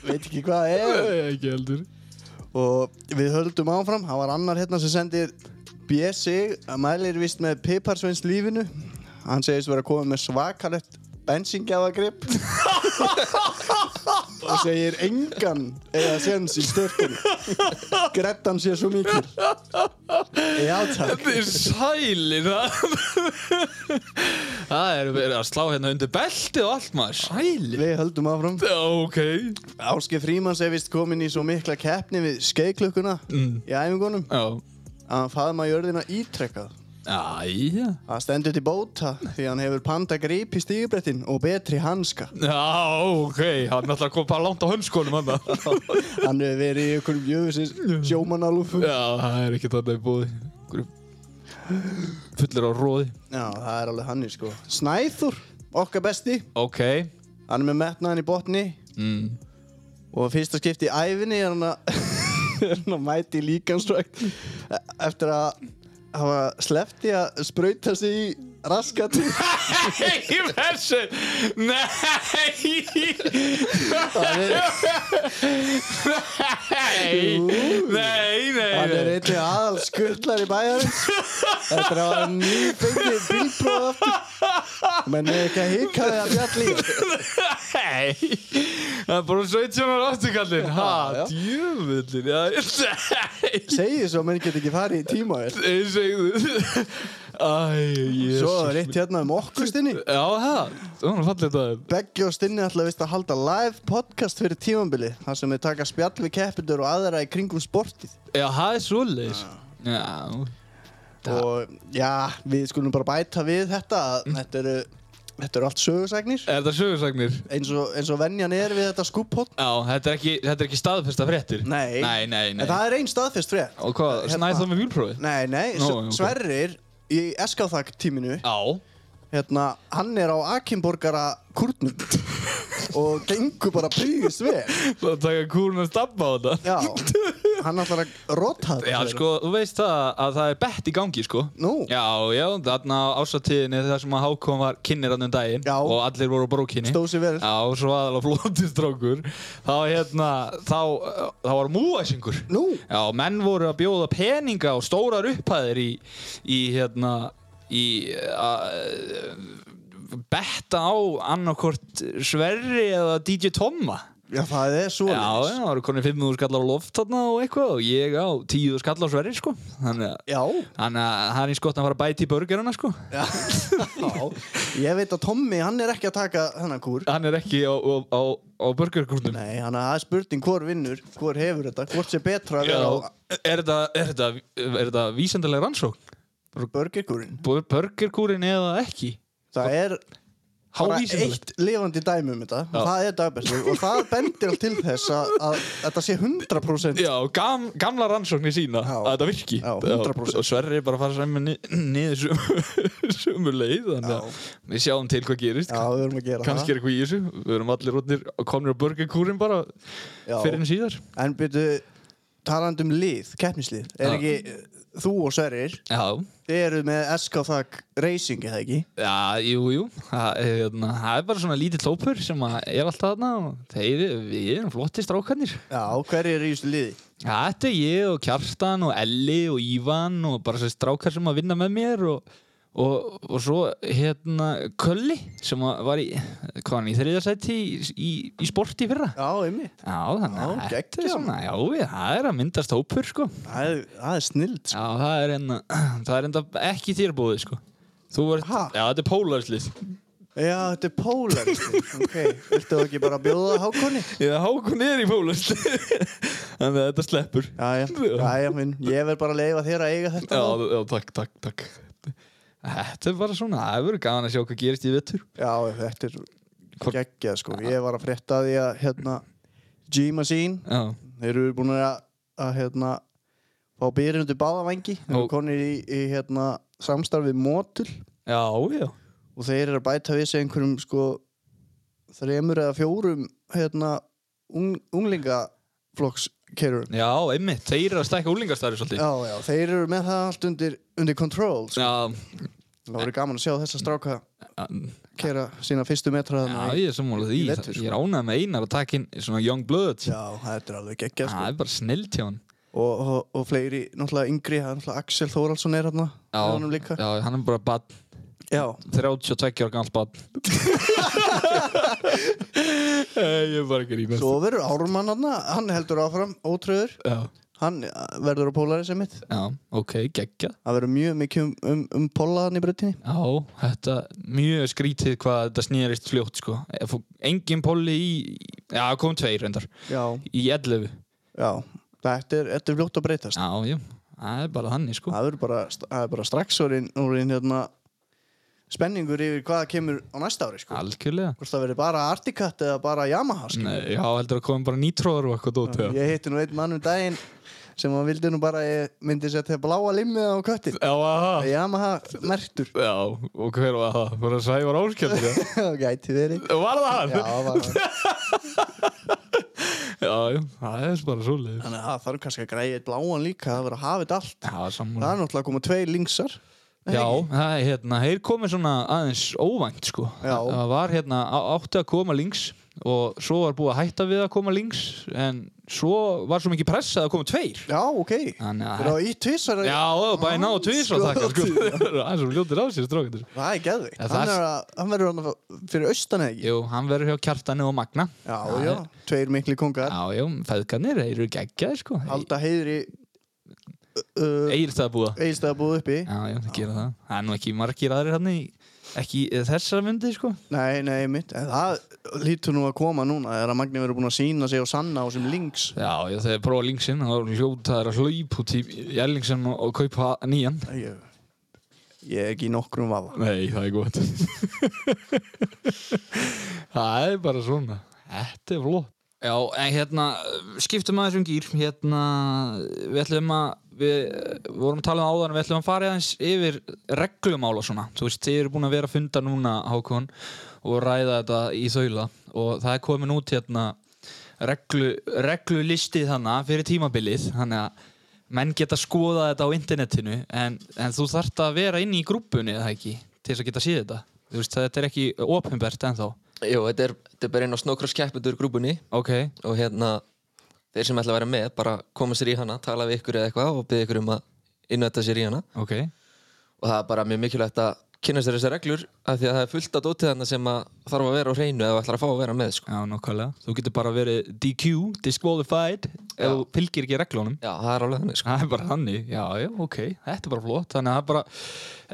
S1: Veit ekki hvað það er
S3: ekki heldur.
S1: Og við höldum áfram Það var annar hérna sem sendir BSI að mælir vist með Piparsveins lífinu Hann segist vera komið með svakalett bensingjafagrip og segir engan eða sens í störtunni Grettan sé svo mikil Já takk
S3: Þetta er sælin. Það er verið að slá hérna undir beltið og allt maður. Sælin?
S1: Við höldum áfram
S3: Já, ok.
S1: Áskei Frímanns er vist komin í svo mikla keppni við skeiklökkuna í æfingunum
S3: Já.
S1: að hann faðma jörðina ítrekkað.
S3: Æja.
S1: Það stendur til bóta því hann hefur panta grip í stígubrettin og betri hanska.
S3: Já, ok. Hann ætlar að koma bara langt á hönnskónum hann það.
S1: Hann hefur verið í einhverjum jöfusins sjómanalúfum.
S3: Já, það er ekki þarna í búði. Fullir á róði.
S1: Já, það er alveg hann sko. Snæður, okkar besti,
S3: Ok.
S1: hann er með metnaðan í botni
S3: Mm.
S1: og fyrsta skipti í æfinni er hann að er hann að mæti líkansrækt eftir að hafa sleppt í að sprauta sig í raskat
S3: Nei, þessu Nei Nei Nei, nei,
S1: Hann er
S3: nei.
S1: einnig aðal skullar í bæjarins Þetta er að hann nýfengið bílbróð aftur Menn er ekki að hika því að bjalli
S3: Nei Það er bara 17 ára afturkallin Ha,
S1: Já, já.
S3: djöfullin Já, Nei
S1: Segið svo að menn get ekki farið í tíma þér
S3: Nei, segðu Æ, jésus
S1: Svo er eitt hérna um okkur stinni
S3: Já, það Það var fallið það
S1: Beggi og Stinni ætla vist að halda live podcast fyrir tímambili þar sem við taka spjall við keppendur og aðra í kringum sportið
S3: Já, það er svoleiðis Já Það-
S1: og já, við skulum bara bæta við þetta að þetta eru, þetta eru allt sögursagnir
S3: Er það sögursagnir?
S1: eins og, eins og venjan er við þetta skúppot
S3: Já, þetta er ekki, þetta er ekki staðfesta fréttir
S1: Nei.
S3: Nei, nei, nei
S1: en það er einn staðfest frétt
S3: Og hvað,
S1: Hérna-
S3: snæð það með bílprófið?
S1: Nei, nei,
S3: Nú,
S1: no,
S3: ok. Ah.
S1: Sverrir í Eskaþak tíminu
S3: Já
S1: hérna, hann er á Akinborgara kurnum og gengur bara príðist vel
S3: Það taka kúrun að stabba á þetta
S1: Já, hann ætlar að rota þetta
S3: Já,
S1: fyrir.
S3: sko, þú veist það að það er bett í gangi, sko
S1: Nú.
S3: Já, já, þarna á ásatíðinni þar sem að Hákon var kynir hann um daginn
S1: Já.
S3: Og allir voru á brókinni
S1: Stóð sig vel.
S3: Já, og svo aðalega flótið strókur Þá, hérna, þá, uh, þá var múæsingur
S1: Nú,
S3: Já, menn voru að bjóða peninga og stórar upphæðir í, í hérna, í að betta á annarkort Sverri eða DJ Tomma.
S1: já það er svo
S3: Já, já, það voru konið 500 skallar á loft þarna og eitthvað og ég á 10 skallar á Sverri, sko. Þannig að,
S1: Já,
S3: þannig að hann er eins gott að fara að bæta í burgeruna, sko.
S1: ég veit að Tommy, hann er ekki að taka þennan kúr
S3: Hann er ekki á, á, á, á burgerkúrnum.
S1: Nei, hann er spurning hvor vinnur, hvor hefur þetta, hvort sé betra að
S3: Já,
S1: vera á
S3: er þetta, er þetta, er þetta vísendalega rannsókn?
S1: burgerkúrin
S3: Burgerkúrin eða ekki?
S1: Það er bara
S3: Hávísindalega.
S1: eitt lifandi dæmi um þetta
S3: Já.
S1: og það er dagbæstu og það bendir allt til þess að, að þetta sé 100%
S3: Já, gam, gamla rannsóknir sína
S1: Já.
S3: að þetta virki
S1: Já, 100%.
S3: og Sverri bara fara sem ni niður sömu, sömu leið þannig að við sjáum til hvað gerist
S1: Já, við verðum að gera
S3: kannski er eitthvað í þessu við erum allir rótnir og komnir á burgerkúrin bara
S1: Já.
S3: fyrir en síðar
S1: það En byrju, talandi um lið, keppnislið Er
S3: Já.
S1: ekki, eh, þú og Sverrir
S3: Já,
S1: Þið eruð með SKþak Racing, eða ekki?
S3: já, jú, jú það er, hérna, það er bara svona lítið tópur sem að er alltaf þarna og þeir, við erum flotti strákarnir
S1: Já, hverju er í þessu liði?
S3: Já, þetta er ég og Kjartan og Elli og Ívan og bara þessi strákar sem að vinna með mér og, og, og svo hérna Kölli sem að var í, hvað var hann, í þriðarsæti í, í, í sporti í fyrra.
S1: Já, ymmi
S3: Já, þannig að
S1: Já,
S3: þetta er
S1: geggjað.
S3: svona, já, við- það er að myndast hópur, sko.
S1: Það er, það er snillt sko.
S3: Já, það er enda, það er enda ekki þér búið, sko. Þú ert,
S1: Ha?
S3: já, þetta er pólarslið.
S1: Já, þetta er pólar Ok, viltu ekki bara bjóða hákonni?
S3: Já, Hákon er í pólarslið, þannig að þetta sleppur.
S1: Jæja, jæja, minn Ég verð bara að leifa þér að eiga þetta
S3: Já,
S1: þá.
S3: já, takk, takk, takk Þetta er bara svona, það verður gaman að sjá hvað gerist í vettur
S1: Já, þetta er
S3: Hvort-
S1: geggjað sko Ég var að frétta því að hérna G-Machine
S3: Já,
S1: Þeir eru búin að, að hérna, fá byrjun undir báðavangi Þeir
S3: Ó.
S1: eru konir í, í hérna, samstarfið mótul
S3: já, já
S1: og þeir eru að bæta við sig einhverjum sko, þreymur eða fjórum hérna, ung, unglingaflokks keirurum
S3: Já, einmitt, þeir eru að stækka úlingastæri svolítið
S1: Já, já, þeir eru með það allt undir, undir control sko.
S3: Já,
S1: Það voru gaman að sjá þessa stráka
S3: já,
S1: keira sína fyrstu metra
S3: Já,
S1: þarna í-
S3: ég er sammála því,
S1: í vetur,
S3: ég er ánægð með einar að taka inn svona young blood
S1: Já, þetta er alveg geggja sko.
S3: Það er bara snillt hjá hann
S1: og, og, og fleiri, náttúrulega yngri það er náttúrulega Axel Þóraldsson er hérna með honum líka.
S3: já, hann er bara badn,
S1: já,
S3: 32 ára gammal badn Eh, Ég er bara að grínast
S1: svo verður Ármann hérna hann heldur áfram, ótröður
S3: Já,
S1: hann eh, verður á pólari sem mitt
S3: já, ok, geggja
S1: það verður mjög mikið um, um, um pólaðan í breytinni
S3: Já, þetta, mjög skrítið hvað þetta snýrist fljótt sko Ef þú- Engin polli í, já, kom tveir reyndar
S1: já,
S3: Í 11
S1: já, þetta er, þetta er fljótt að breytast
S3: Já, já, það er bara þannig sko
S1: það verður bara, það er bara strax orðin, orðin hérna, spenningur yfir hvað kemur á næsta ári sko.
S3: Algjörlega
S1: hvort það verður bara Articat eða bara Yamaha sko.
S3: Nei, Já, heldur að komum bara nýtróðar og eitthvað dót eða?
S1: ég hitti nú einn mann um daginn sem hann vildi nú bara að ég myndi setja bláa limmið á köttin
S3: Já, aha.
S1: Yamaha mertur
S3: Já, og hver var það? Var það Sævar Áskjöldur? Já?
S1: gæti verið
S3: Var það hann?
S1: Já, var það.
S3: Já, já, það er bara svo leiður.
S1: þannig að það þarf kannski að græja eitt bláan líka það verður að hafa þetta allt
S3: Já,
S1: það
S3: sammála.
S1: er náttúrulega að koma tvei linksar
S3: Já, það er hérna, þeir komið svona aðeins óvænt, sko.
S1: Já.
S3: Það var hérna, á- átti að koma links og svo var búið að hætta við að koma links en svo var svo mikið pressa að það koma tveir.
S1: já ok
S3: Þannig að...
S1: það er í tvisar
S3: Já, og bara ná tvis og þakka, sko.
S1: Skotin,
S3: Það er svo ljótir á sér, strókendur.
S1: það er geðvikt
S3: Já, það
S1: hann,
S3: er-
S1: er að- hann verður hann fyrir austan eða ekki
S3: Jú, hann verður hjá Kjartani og Magna.
S1: já já tveir mikli kongar
S3: Já, já, feðgarnir, þeir eru geggjaðir, sko.
S1: halda heiðri uh,
S3: Egil það búa.
S1: eigist að búið uppi
S3: Já, já, það gera það. Það er nú ekki margir aðrir hann í, ekki í þessara myndi, sko.
S1: nei nei mitt en það lítur nú að koma núna þegar að Magni verður búin að sína sig og sanna á sem links
S3: Já, já, þegar ég prófa linksinn, þá er hljótaður að hlaup út í Jellingsen og, og kaupa nýjan.
S1: ég, ég er ekki í nokkrum vafa
S3: Nei, það er gott. það er bara svona. Þetta er flott. Já, en hérna, skiptum aðeins um gýr. Hérna, við ætlum að, við vorum að tala um áðan, við ætlum að fara aðeins yfir reglumála svona. Þú veist, þið eru búin að vera að funda núna, Hákon, og ræða þetta í þaula. Og það er komin út hérna reglu, reglulistið hana fyrir tímabilið. Þannig að menn geta skoða þetta á internetinu en, en þú þarft að vera inni í grúpunni eða ekki til þess að geta séð þetta þú veist þetta er ekki ofinbært ennþá
S2: Jó, þetta er, þetta er bara einn á snókrosskeppendur grúbunni
S3: ok,
S2: og hérna þeir sem ætla að vera með bara koma sér í hana, tala við ykkur eða eitthvað og byggja ykkur um að innvæta sér í hana
S3: ok
S2: og það er bara mjög mikilvægt að kynna sér þessar reglur af því að það er fullt af dótið hana sem að þarf að vera á hreinu eða ætlar að fá að vera með sko.
S3: já nokkvæmlega, þú getur bara verið DQ disqualified ef
S2: Já.
S3: þú fylgir ekki reglunum
S2: Já, það er alveg þannig sko.
S3: það er bara þannig, já já ok þetta er bara flott, þannig að það er bara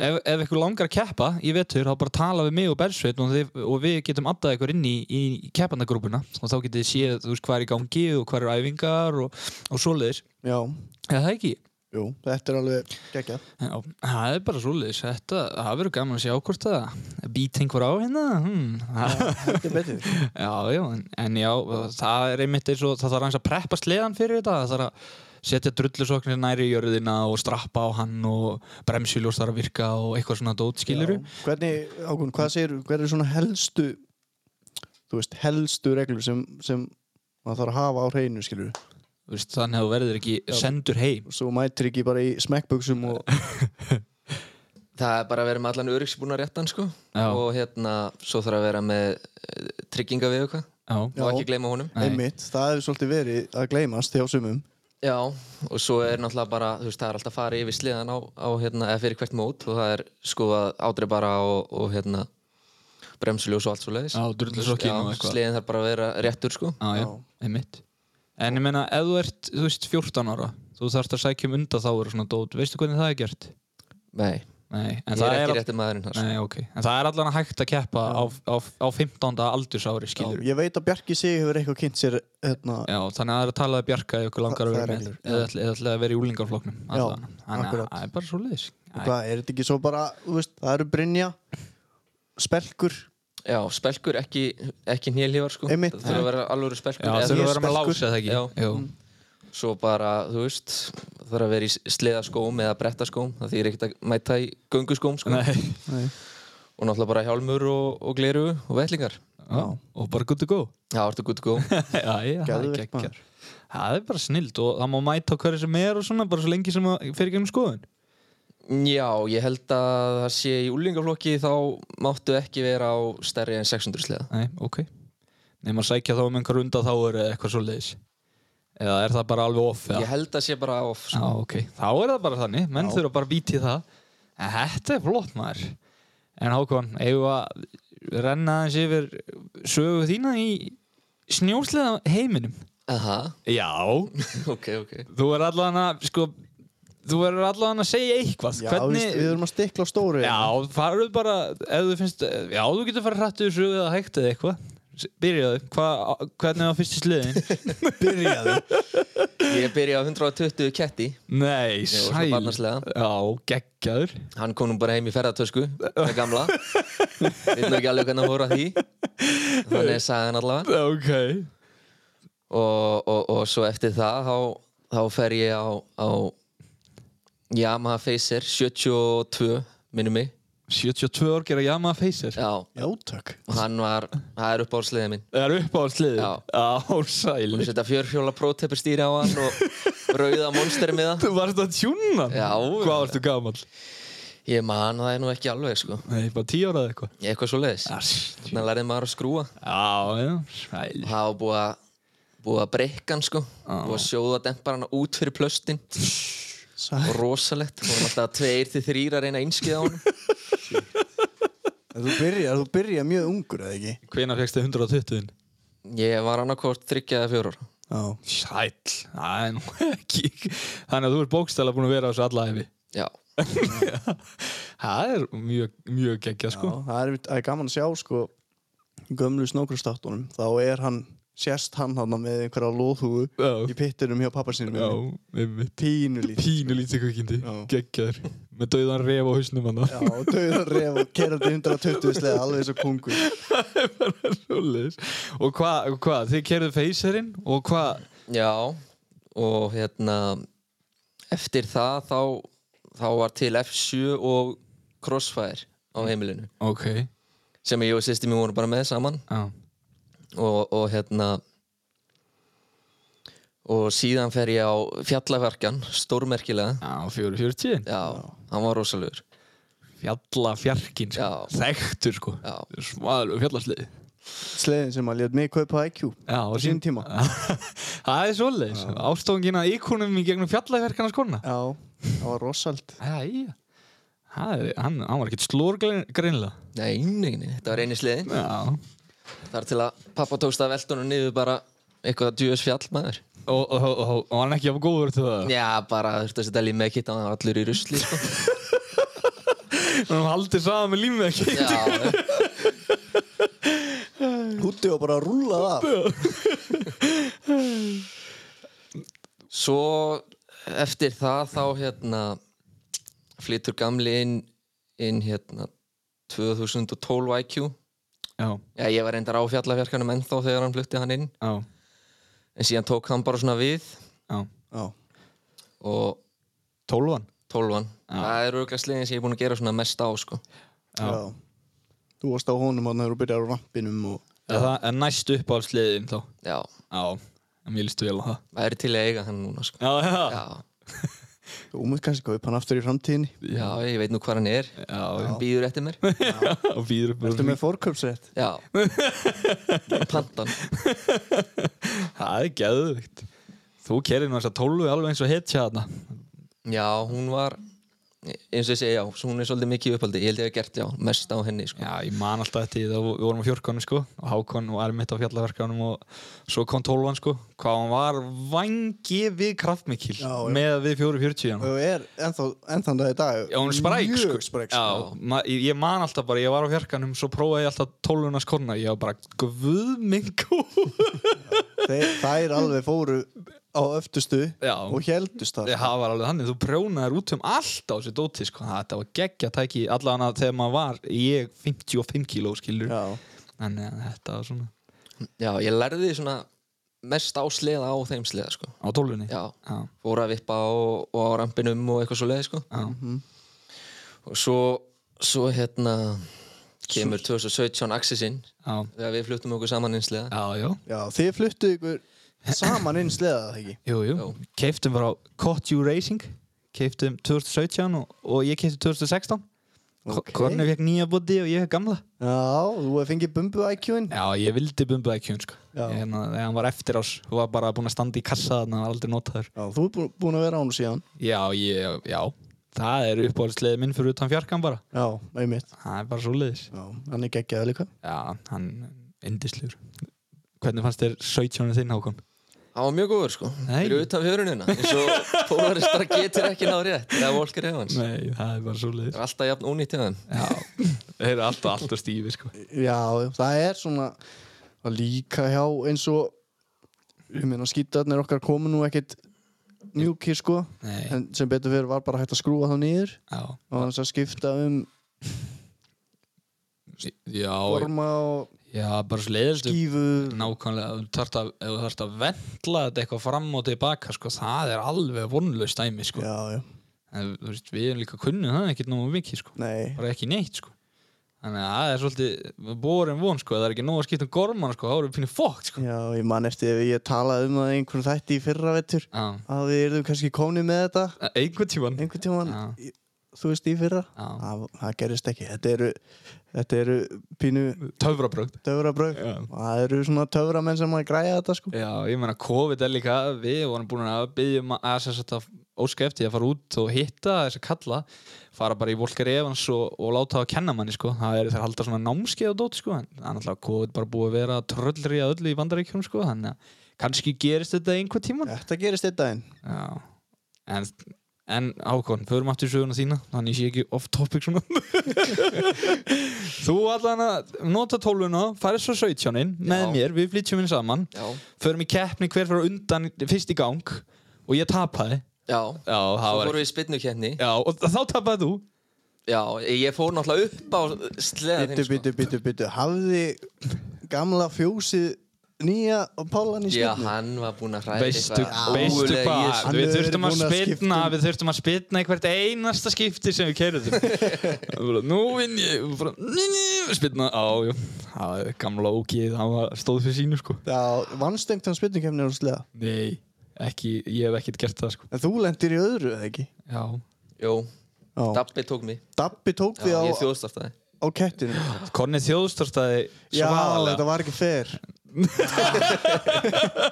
S3: ef, ef ykkur langar að keppa í vetur þá bara tala við mig og Bersveit og, þið, og við getum addað ykkur inn í, í keppandagrúpuna og þá getið þið séð þú veist, hvað er í gangi og hvað eru æfingar og, og svoleiðis,
S1: já
S3: eða það ekki
S1: jú þetta er alveg geggjað
S3: Já, það er bara svoleiðis. Þetta, það verður gaman að sjá hvort það být einhver á hérna. Hmm.
S1: þetta er betur
S3: Já, já, en, en já, það er einmitt eins og það þarf hans að preppa sleðan fyrir þetta. Það þarf að setja drullusoknir næri í jörðina og strappa á hann og bremsuljós þarf að virka og eitthvað svona dót, skilur
S1: Já. Hvernig, Ákun, hvað segir, hver er svona helstu þú veist, helstu reglur sem, sem maður þarf að hafa á hreinu, skilur
S3: Veist, þannig að þú verður ekki sendur heim.
S1: svo mætir ekki bara í smekkbuksum og
S2: Það er bara að vera með allan öryggsbúna réttan sko.
S3: Já.
S2: og hérna, svo þarf að vera með eh, trygginga við eitthvað
S1: Já.
S3: Já,
S2: og ekki gleyma honum
S3: Nei.
S1: einmitt, það hefur svolítið verið að gleymast hjá sumum
S2: Já, og svo er náttúrulega bara, þú veist, það er alltaf að fara yfir sliðan á, á hérna, eða fyrir hvert mót og það er sko að ádreif bara og, og hérna, bremsuljós og allt svo leiðis.
S3: já drullusokkin og eitthvað.
S2: Sliðin þarf bara að vera réttur, sko.
S3: Já, já,
S1: Já.
S3: einmitt En ég meina, ef þú ert, þú veist, 14 ára Þú þarfst að sækja um undanþáður og svona dót Veistu hvernig það er gert?
S2: Nei,
S3: Nei, en
S2: ég
S3: það
S2: er
S3: er,
S2: ekki
S3: all...
S2: rétti maðurinn þar, sko.
S3: Nei, okay. en það er allan hægt að keppa á, á, á 15. aldursári skilur Já,
S1: ég veit að Bjarki sig hefur eitthvað kynnt sér hérna,
S3: þannig að það er að tala við Bjarka ef ykkur langar að
S1: Það-
S3: vera
S1: það er
S3: með
S1: reglur, já.
S3: eða ætla- eða ætla að vera í úlingarfloknum allan. Þannig að
S1: akkurat.
S3: það er bara svo leiðis
S1: hvað, er þetta ekki svo bara, þú veist, það eru Brynja spelkur,
S2: Já, spelkur, ekki, ekki nýlívar, sko.
S1: Einmitt.
S2: Það þurfa að vera alvöru spelkur.
S3: Já,
S2: Eða
S3: þurfa
S2: þú
S3: að
S2: veist,
S3: vera með
S2: spelkur.
S3: lása eða ekki
S2: Já.
S3: Jú.
S1: Mm.
S2: Svo bara, þú veist, þurfa að vera í sliðaskóm eða brettaskóm, það þýr ekkert að mæta í gönguskóm, sko.
S3: Nei,
S1: Nei.
S2: Og náttúrulega bara hjálmur og, og gleru og vellingar.
S3: Já, og bara good to go
S2: Já, ertu good to go
S3: já, já, það er
S1: Geðveikt,
S3: geggjað.
S1: maður.
S3: það er bara snild og það má mæta á hverju sem er og svona bara svo lengi sem það fer í gegnum skoðun
S2: Já, ég held að það sé í úlingaflokki þá máttu ekki vera á stærri en 600 sleða
S3: Nei, ok Nei, maður sækja þá um einhver runda þá er eitthvað svo leiðis eða er það bara alveg off eða?
S2: Ég held að sé bara off
S3: Já,
S2: sko.
S3: ok, þá er það bara þannig menn
S1: Já.
S3: þurfa bara að býti það en þetta er flott maður en Hákon, eigum við að renna aðeins yfir sögu þína í snjósleða heiminum
S2: Aha,
S3: Já,
S2: ok, ok
S3: Þú er allan að sko, Þú er allan að segja eitthvað
S1: Já, Hvernig... við erum hérna. að stikla á stóru
S3: Já, farðu bara ef þú finnst, Já, þú getur farið hrættu þessu eða hægt eða eitthvað S- Byrjaðu, hva, hvernig var fyrstu sliðin?
S1: byrjaðu
S2: Ég byrja á 120 ketti
S3: Nei,
S2: Ég var svo
S3: sæl
S2: barnaslega.
S3: Já, geggjaður
S2: Hann kom nú bara heim í ferðartösku Það gamla Við veitum ekki alveg hvernig að voru að því Þannig sagði hann allavega
S3: Ok
S2: og, og, og svo eftir það þá, þá fer ég á, á Yamaha Facer 72 minnum mig
S3: 72 ár gera Yamaha Facer
S2: Já, og
S1: Já, takk
S2: hann var, það er upp á sliðið minn
S3: Það er upp á sliðin
S2: Já.
S3: Já,
S2: Búin
S3: sæl
S2: að setja fjörfjóla prótepur stýri á hann og rauða monster með það
S3: Þú varst að tjúna hann?
S2: Já.
S3: Hvað varstu gamal?
S2: Ég man það er nú ekki alveg sko
S3: Nei, bara 10 ára eða eitthvað
S2: Eitthvað svo leiðis
S3: Já,
S2: Þannig lærið maður að skrúa
S3: já, sæl
S2: og það var búið að búið að breykka hann sko búið að sjóða demparana út fyrir plöstin og rosalegt og alltaf tveir til þrýr að reyna að einskiða á hann
S1: En Þú byrjar, þú byrjar mjög ungur, eða ekki?
S3: Hvenær fegstu 120-in?
S2: ég var annarkort þryggja eða fjórar
S1: Já
S3: Sæll, það er nú ekki Þannig að þú ert bókstæla búin að vera á þessu alla hefi
S2: já,
S3: Það er mjög, mjög geggja
S1: Já,
S3: sko
S1: það er, það er gaman að sjá sko í gömlu snókrastáttunum þá er hann, sérst hann hann með einhverja lóðhúu
S3: Já,
S1: í pittinum hjá pappa sínum
S3: já, einmitt
S1: pínu lítið
S3: Pínu lítið kvikindi,
S1: Já.
S3: geggjaður Með dauðan ref á hausnum hann
S1: Já, döðan ref og kerandi 120 sleða alveg eins og kungur
S3: Svoleiðis. Og hvað, hva, þið kerðu feyserinn Og hvað,
S2: já og hérna eftir það þá þá var til F7 og Crossfire á heimilinu
S3: ok Já,
S2: sem ég og sýsti mér voru bara með saman og, og hérna og síðan fer ég á fjallaverkjan stórmerkilega
S3: já 440
S2: Já, hann var rosalegur
S3: Fjalla fjarkinn sko.
S2: Já.
S3: Þekktur sko
S2: Já.
S3: Smaðalegu fjallasliði
S1: sleðin sem að létt mig kaupa IQ
S3: Já,
S1: á sín tíma
S3: Það er svoleiðis Ástóngin að íkonum í gegnum fjallaverkana sko, skona
S1: Já, það var rosald
S3: Æja Það er, hann, hann var ekkert slór greinlega
S2: Nei, nei, nei, þetta var eini sliðin
S3: Já
S2: Þar til að pappa tókst að veltunum niður bara eitthvað djúðis fjall maður
S3: Og, og, og, og var hann ekki af góður til það
S2: Já, bara þurfti að setja líf með kittan hann var allur í rusli sko.
S3: Þannig að hann haldið saman með límið ekki
S2: Já, já.
S3: Mm.
S1: Húti var bara að rúla það
S2: Svo eftir það þá hérna flytur gamli inn inn hérna 2012 IQ
S3: Já,
S2: Já, ég var reyndar á fjallafjarkanum ennþá þegar hann flutti hann inn
S3: já,
S2: en síðan tók hann bara svona við
S3: já
S1: Já,
S2: og
S3: Tólvan
S2: 12 hann Það er auðvitað sliðin sem ég er búin að gera svona mest á sko.
S3: Já.
S1: já Þú varst á honum hann þegar þú byrjar á rampinum og
S3: Það er næst upp á sliðin þá
S2: Já,
S3: Já, mér líst vel á það
S2: Það er til að eiga hann núna sko.
S3: Já, já,
S2: Já,
S1: þú múið kannski kaupa hann aftur í framtíðinni
S2: já, ég veit nú hvað hann er
S3: já,
S2: Hann býður eftir mér
S3: já Og býður upp
S1: Ertu með fórkaupsrétt?
S2: Já Pantan
S3: Það er geðvikt Þú kerir nú þess að tólvi alveg eins og hetja þarna
S2: Já, hún var eins og ég segi, já, svo hún er svolítið mikið í upphaldi Ég held ég hef gert, já, mest á henni sko.
S3: Já, ég man alltaf þetta í það við vorum á fjórkónu sko og Hákon var mitt á fjallaverkjónum og svo kom tólvan sko hvað hann var vangi við kraftmikil
S1: Já, já.
S3: með að við fjóru fjörtíu hann
S1: og er ennþá, ennþá í dag
S3: hérna. Já, hún er spræk sko
S1: mjög spræk sko.
S3: Já, ma- ég ég man alltaf bara, ég var á fjarkanum svo prófaði ég alltaf tólvunas korna ég var bara, guð minn góð
S1: Þeir, þær alveg fóru á öftustu
S3: Já.
S1: og heldust það
S3: Það var alveg þannig, þú prjónaðir út um allt á þessu dóti sko, þetta var geggja tæki allan að þegar maður var, ég 55 kíló skilur,
S1: Já.
S3: þannig að eh, þetta var svona
S2: Já, ég lærði svona mest á sleða á þeim sleða sko.
S3: á tólvunni
S2: Já,
S3: Já,
S2: fór að vippa og, og á
S3: Mhm.
S2: rampinum og eitthvað svo leið sko.
S3: já,
S2: Og svo, svo hérna kemur 2017 Axisinn
S3: Já,
S2: þegar við fluttum okkur saman einslega
S3: já, já.
S1: Já, þið fluttuð ykkur saman inn sleðað, það ekki?
S3: Jú, jú.
S2: Jú.
S3: Keiftum bara á Caught You Racing. Keiftum 2017 og, og ég keifti 2016.
S1: Ok.
S3: Okay. Kornu fekk nýja bóti og ég fekk gamla.
S1: Já, þú hefði fengið bumbu IQ-in.
S3: Já, ég vildi bumbu IQ-un, sko.
S1: Já.
S3: Ég, hérna, þegar hann var eftir ás, hún var bara búin að standa í kassa þannig að hann var aldrei notaður.
S1: Já, þú er bú- búin að vera án síðan.
S3: Já, ég, já. Það er uppáhaldsleið minn fyrir utan fjarkan bara.
S1: Já, einmitt.
S3: Það er bara svo leiðis.
S1: Já, hann er geggjaði líka.
S3: Já, hann indislegur. Hvernig fannst þér 17 þinn, Hákon?
S2: Það var mjög góður sko,
S3: Nei.
S2: fyrir utan fjörunina eins og Polaris bara getur ekki náður rétt eða Volker Evans, það
S3: Nei, það er bara svo leiðis.
S2: er alltaf jafn ónýtt hjá þeim
S3: Já, þeir eru alltaf, alltaf stífi, sko.
S1: Já, það er svona það líka hjá eins og ég meina skítarnir okkar komu nú ekkit mjúkir sko
S3: Nei.
S1: en sem betur fyrir var bara hægt að skrúa þá niður
S3: Já.
S1: og þess að skipta um
S3: Já,
S1: forma og
S3: já, bara svo leiðis.
S1: skífu
S3: Nákvæmlega, ef þú þarft að, ef þú þarft að vendla þetta eitthvað fram og tilbaka, sko, það er alveg vonlaust dæmi, sko.
S1: Já, já,
S3: En, þú veist, við erum líka kunnið það ekkert nógu mikið, sko.
S1: nei
S3: Bara ekki neitt, sko. Þannig að það er svolítið borin von, sko, ef það er ekki nógu að skipta um gormana, sko, þá erum við finnir fókt, sko.
S1: Já, ég man eftir ef ég talaði um það í einhvern þætti í fyrra vettur
S3: Já.
S1: að við erum kannski komni með þetta
S3: Einhvern tíman.
S1: einhvern tímann, í- þú veist, í fyrra
S3: Já.
S1: það, það gerist ekki, þetta eru þetta eru pínu
S3: Töfrabrögg.
S1: töfrabröð
S3: Já.
S1: það eru svona töframenn sem að græja þetta sko
S3: Já, ég meina, COVID er líka, við vorum búin að byggja um að, að, sem sagt að óska eftir því að fara út og hitta þess að kalla, fara bara í Volker Evans og, og láta það að kenna manni, sko. Það er þeir halda svona námskeið og dót, sko, en það er náttúrulega COVID bara búið að vera tröllri að öllu í bandaríkjum, sko, þannig að kannski gerist þetta einhvern tíman.
S1: Þetta gerist einn daginn
S3: Já, en, en ákvæm, förum aftur í söguna þína, þannig sé ekki off topic svona. Þú allan að nota tóluna, farið svo 17 með
S2: Já.
S3: mér, við flytjum inn saman
S2: Já,
S3: förum í keppni hver fyrir undan fyrst í gang og ég tapaði
S2: já,
S3: já,
S2: þá
S3: það var
S2: fórum við í spinnukenni
S3: já, og þá tapaði þú
S2: Já, ég fór náttúrulega upp á sleða
S1: Bittu,
S2: þinn sko
S1: bittu, bittu, bittu Hafði gamla fjósið nýja og Pálan í
S2: Já,
S1: skipni?
S2: hann var búinn að hræða
S3: veistu, veistu
S2: ógurlega í
S3: hvað
S2: þessu.
S1: Hann
S3: við
S1: hefur
S3: þurftum að
S1: verið búinn að
S3: spilna
S1: skipta um-
S3: við þurftum að spilna í hvert einasta skipti sem við kerðum nú vinn ég og bara, ný, ný, spilna á, jú það er gamla ógið, hann var stóð fyrir sínu sko
S1: Já, vannstengt hann spynningkefni og slega
S3: nei, ekki, ég hef ekkert gert það sko
S1: En þú lendir í öðru, eða ekki?
S3: já,
S2: Jú,
S1: Já.
S2: Dabbi tók mig
S1: Dabbi tók
S2: Já,
S1: því á,
S2: ég þjóðst af það
S1: á kettinu
S3: Konni þjóðstórstaði
S1: Já, þetta var ekki fair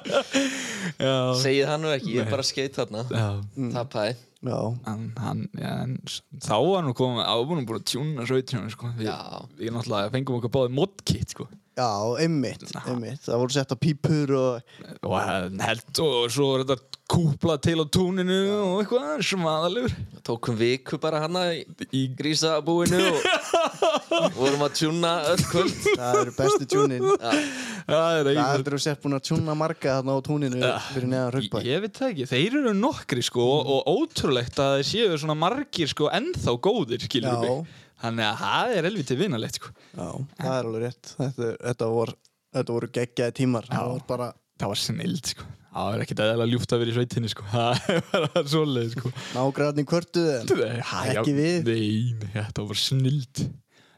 S3: já,
S2: Segið það nú ekki, ég er bara skeitt þarna
S3: já.
S2: Tappaði
S1: Já,
S3: en hann, já, en s- þá var hann komið, þá var hann búin að tjúna 17 sko. við,
S2: Já.
S3: við náttúrulega fengum okkur báði modkit sko.
S1: já, einmitt, einmitt Það voru sett á pípur og
S3: og hann held og svo var þetta kúplað til á túninu og eitthvað smaðalegur
S2: Tókum viku bara hana í
S3: í
S2: grísabúinu og vorum að tjúna öll kvöld
S1: það eru bestu tjúnin
S3: það er
S1: Það
S3: eitthvað
S1: heldur þú sett búin að tjúna marga þarna á túninu fyrir neðan
S3: Ég,
S1: rökkbæ
S3: ég veit það ekki, þeir eru nokkri sko og ótrúlegt að þeir séu svona margir sko ennþá góðir
S1: Já.
S3: skilur mig Þannig að það er helviti vinalegt sko
S1: Já, það er alveg rétt Þetta, þetta, vor, þetta voru geggjaði tímar Það var bara
S3: Það var snild sko, það er ekkit eðalega ljúft að vera í sveitinni sko, það er bara svoleið sko
S1: nágræðni kvörtuð en
S3: Nei, hæ,
S1: Ekki við.
S3: Nei, nei, þetta var snild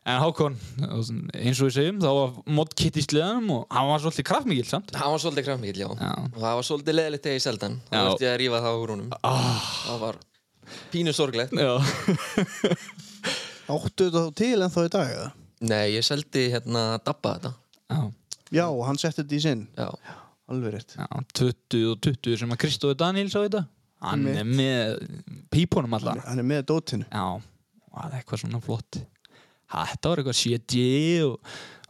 S3: En Hákon, eins og við segjum þá var modkitt í sleðanum og hann var svolítið kraftmikil samt
S2: Það var svolítið kraftmikið, já.
S3: Já.
S2: Og það var svolítið leðilegt þegar ég seldi hann Þá
S3: Já.
S2: veist ég að rífa það á húnum
S3: ah,
S2: Það var pínu sorglegt
S3: Já,
S1: Áttu þetta þá til ennþá í dag? eða?
S2: Nei, ég seldi hérna Dabba þetta
S3: já,
S1: Já, hann setti þetta í sinn
S2: Já,
S1: Alveg rétt
S3: já 20 og 20 sem að Kristófi Daniels á þetta Hann er með pípunum allan
S1: Hann er með dótinu
S3: Já, og það er eitthvað svona flott Þetta var eitthvað CD og,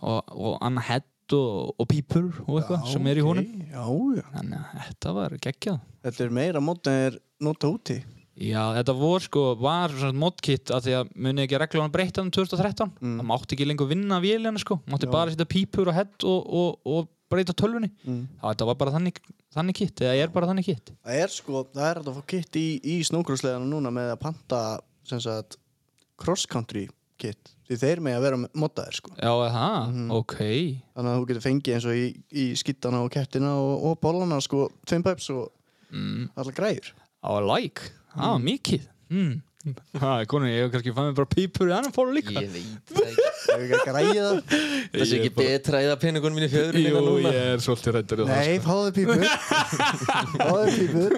S3: og, og Anna Hett og, og pípur og eitthvað sem er í honum
S1: Já, já
S3: Þannig að þetta var geggjað
S1: Þetta er meira mót en er nota úti
S3: Já, þetta vor sko, var svona modkit að því að munið ekki að reglunum breytta um 2013 það mátti ekki lengur vinna vélina sko mátti bara setja pípur og hett og, og, og breyta tölvunni mm. þá þetta var bara þannig, þannig kitt, eða ég er bara þannig kitt
S1: Það er sko, það er hægt að fá kitt í, í snókrúsleðanum núna með að panta sem sagt cross country kitt því þeir með að vera mótaðir sko
S3: Já, það, ok
S1: þannig að þú getur fengið eins og í, í skittana og kettina og, og bollana sko tveim pöps og mm. allar græður
S3: á like, það var mikið mm. Ha, konunni, ég hef kannski fann mér bara pípur í annan fólu líka
S2: Ég veit það ekki
S1: Hefur ekki að græja það?
S2: Það sé
S3: Ég
S2: ekki
S3: bara-
S2: betra að eða peningunum mín í fjöðurinn
S3: Jú,
S2: en núna
S3: ég er svolítið rættur um
S1: Nei,
S3: það sko.
S1: fáðu pípur Fáðu pípur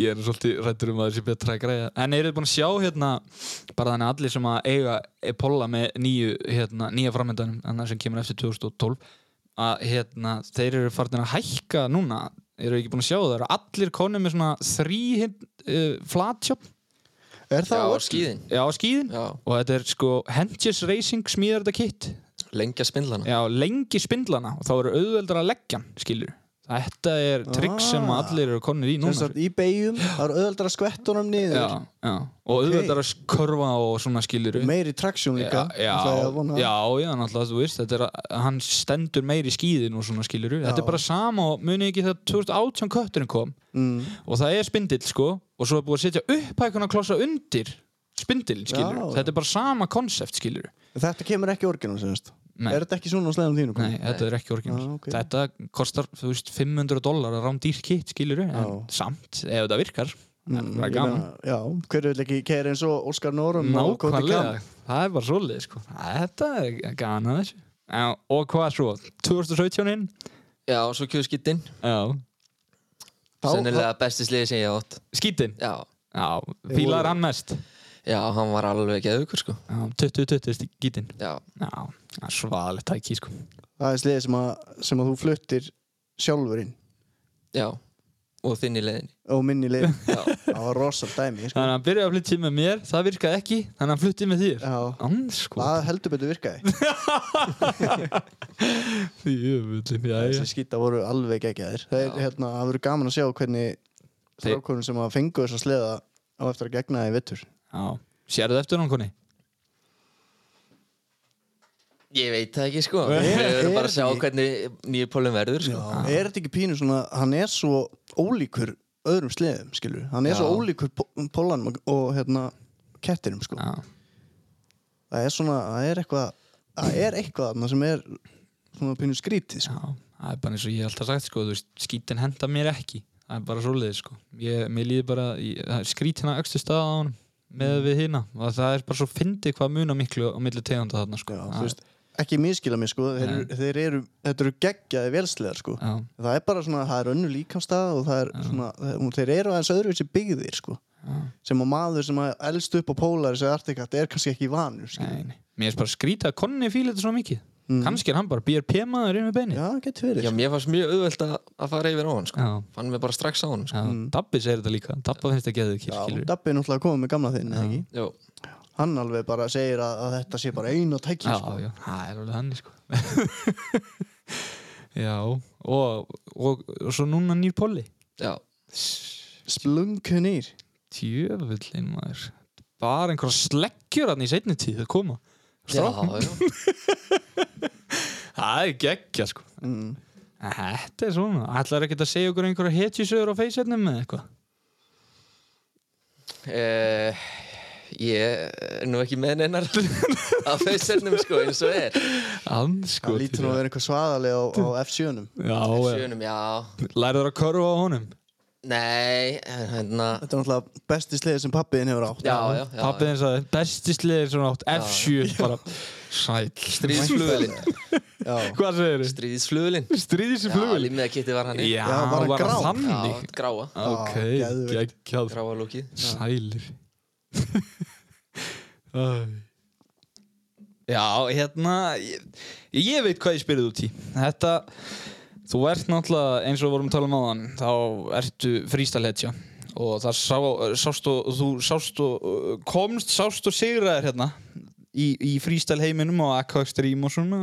S3: Ég er svolítið rættur um að þessi betra að græja En eru þið búin að sjá hérna bara þannig að allir sem að eiga Epolla með nýju, hérna, nýja framöndanum annar sem kemur eftir 2012 að hérna, þeir eru farin að hækka núna eru ekki búin að sjá það eru allir konum með svona þrý uh, flatshop
S1: Er
S2: Já,
S1: það
S2: á
S1: orð?
S2: skíðin
S3: á skíðin
S2: Já,
S3: og þetta er sko Henges Racing smíðar þetta kitt
S2: lengja spindlana
S3: Já, lengi spindlana og þá eru auðveldar að leggja hann, skilur Þetta er trikk sem
S1: Ah.
S3: allir eru konir í núna
S1: Sem sagt, Í beigjum, það er öðaldara skvettunum niður
S3: já, já. og auðveldar að körfa og svona skilur
S1: Meiri traksjón líka
S3: Já, já,
S1: ætla ég að vona.
S3: já, já, náttúrulega þú veist þetta er að hann stendur meir í skíðin og svona skilur þetta er bara sama og muni ekki þegar 2018 kötturinn kom
S1: Mm.
S3: og það er spindill sko og svo er búið að setja upphækuna klossa undir spindillin skilur
S1: Já, já.
S3: þetta er bara sama konsept skilur
S1: Þetta kemur ekki orginum, semst
S3: Nei.
S1: Er þetta ekki svona á slegðum þínum?
S3: Nei, þetta er ekki orginal.
S1: Ah, ok.
S3: Þetta kostar, þú veist, 500 dólar að rám dýr kitt, skilur við, en
S1: Já.
S3: samt, ef þetta virkar, mm, það
S1: Ég
S3: er gaman.
S1: meina, Já, hverju vil ekki kæra eins og Óskar Nórum og Koti
S3: Nákvæmlega,
S1: Kam?
S3: það er bara svolítið, sko. Þetta er gaman að þessu. Já, og hvað svo, 2017-in?
S2: Já, svo kjöðskittin
S3: Já.
S1: Þá-
S2: Sennilega besti sliði sem ég átt
S3: Skítin?
S2: Já,
S3: Já,
S1: Þeir voru-
S3: fílar hann mest.
S2: já, hann var alveg geðugur sko
S3: Já, 20-20 skítin.
S2: Já,
S3: Já, það er svaðalegt tæki, sko.
S1: Það er sliðið sem, að- sem að þú fluttir sjálfurinn
S2: já Og þinn í leiðinni
S1: og minni leið
S2: Já,
S1: Það var rosal dæmi sko.
S3: Þannig að hann byrjaði að flytja með mér, það virkaði ekki, þannig að hann flytti með þér.
S1: Já,
S3: Anskot.
S1: það heldur betur virkaði
S3: Jöfullin, já, já.
S1: Þessi skýta voru alveg geggjaðir Það er
S2: Já.
S1: hérna, það verður gaman að sjá hvernig
S3: Þeir-
S1: strákurinn sem að fengu þess að sleða á eftir að gegna það í vittur
S3: Já, sérðu eftir hann, koni?
S2: ég veit það ekki sko
S1: Er-
S2: Við
S1: er
S2: verðum bara að sjá
S1: ekki-
S2: hvernig nýjur pólum verður sko
S1: Er þetta ekki pínu svona, hann er svo ólíkur öðrum sleðum, skilur Hann er
S2: Já.
S1: svo ólíkur pó- pólanum og- og hérna kettinum, sko
S3: Já.
S1: Það er svona, það er eitthvað Það er eitthvað þarna sem er svona pínu skrítið, sko
S3: Já, það er bara eins og ég hef alltaf sagt sko, þú veist, skítin henda mér ekki það er bara svoleiðis sko ég, mér líður bara, ég, það er skrítina öxtu stað á honum með
S1: Mm.
S3: við hina og það er bara svo fyndið hvað muna miklu á milli tegunda þarna sko
S1: Já,
S3: Það-
S1: þú veist, ekki miskila mig, sko Þeir, eru- þeir eru, þetta eru geggjaði velsleðar, sko
S3: já,
S1: það er bara svona, það er önnu líkamstað og það er svona, og þeir eru aðeins öðruvísi byggðir sko,
S3: já,
S1: sem að maður sem að elst upp á pólari sem artikatt er kannski ekki vanur sko.
S3: nei, nei. mér er bara skrítið að konni fíla þetta svo mikið
S1: Mhm.
S3: kannski er hann bara BRP maður inn við beinni
S1: já, getur verið
S2: Já,
S1: sko.
S2: mér fannst mjög auðvelt að að fara yfir á hann sko
S3: já,
S2: Fann mig bara strax á hann sko
S3: já Dabbi segir þetta líka, Dabba finnst þetta geðið
S1: Mm. já,
S3: kirkilur
S1: Dabbi er náttúrulega komið með gamla þinn eða ekki?
S2: Já,
S1: hann alveg bara segir að, að þetta sé bara eina tækja
S3: Já,
S1: sko.
S3: já, það er alveg hann sko. Já, og, og, og svo núna nýr polli
S2: já,
S1: splunkunir
S3: Tjöfullin maður Bara einhverja sleggjur hann í seinni tíð að koma
S2: já,
S3: Strákum.
S2: já.
S3: Það er geggja sko
S1: mm.
S3: En Þetta er svona Ætlar ekki að segja okkur einhverja hetjusögur á feysefnum með eitthvað
S2: Eh, Ég er nú ekki með neinar á feysernum sko eins og er
S3: Anskot
S1: það lítur nú að vera eitthvað svaðalega á, á F7-num
S3: Já,
S2: Sjönum, já
S3: lærður að körfa á honum
S2: Nei, en hérna
S1: þetta er náttúrulega besti sleið sem pappiðin hefur átt
S2: Já, já, já
S3: Pappið eins að besti sliðir svona átt F7 bara Sæll
S2: Stríðsflugulinn
S1: já.
S3: Hvað segir þið?
S2: Stríðsflugulinn
S3: Stríðis í
S2: Já,
S3: flugul
S2: límið að kitti var hann í
S3: Já,
S1: var hann
S3: var
S1: grár?
S3: hann
S2: já
S3: þannig
S2: gráa
S3: Ok,
S1: Já, geðveikt.
S3: geggjað sko.
S2: Gráa lúkið
S3: Sælir Æ. Já, hérna ég, ég veit hvað ég spyrði út í Þetta, þú ert náttúrulega eins og við vorum að tala um áðan þá ertu frístalhetja og það sá, sást og þú sást og komst, sást og sigraðir hérna í, í frístalheiminum og aqua extreme og svona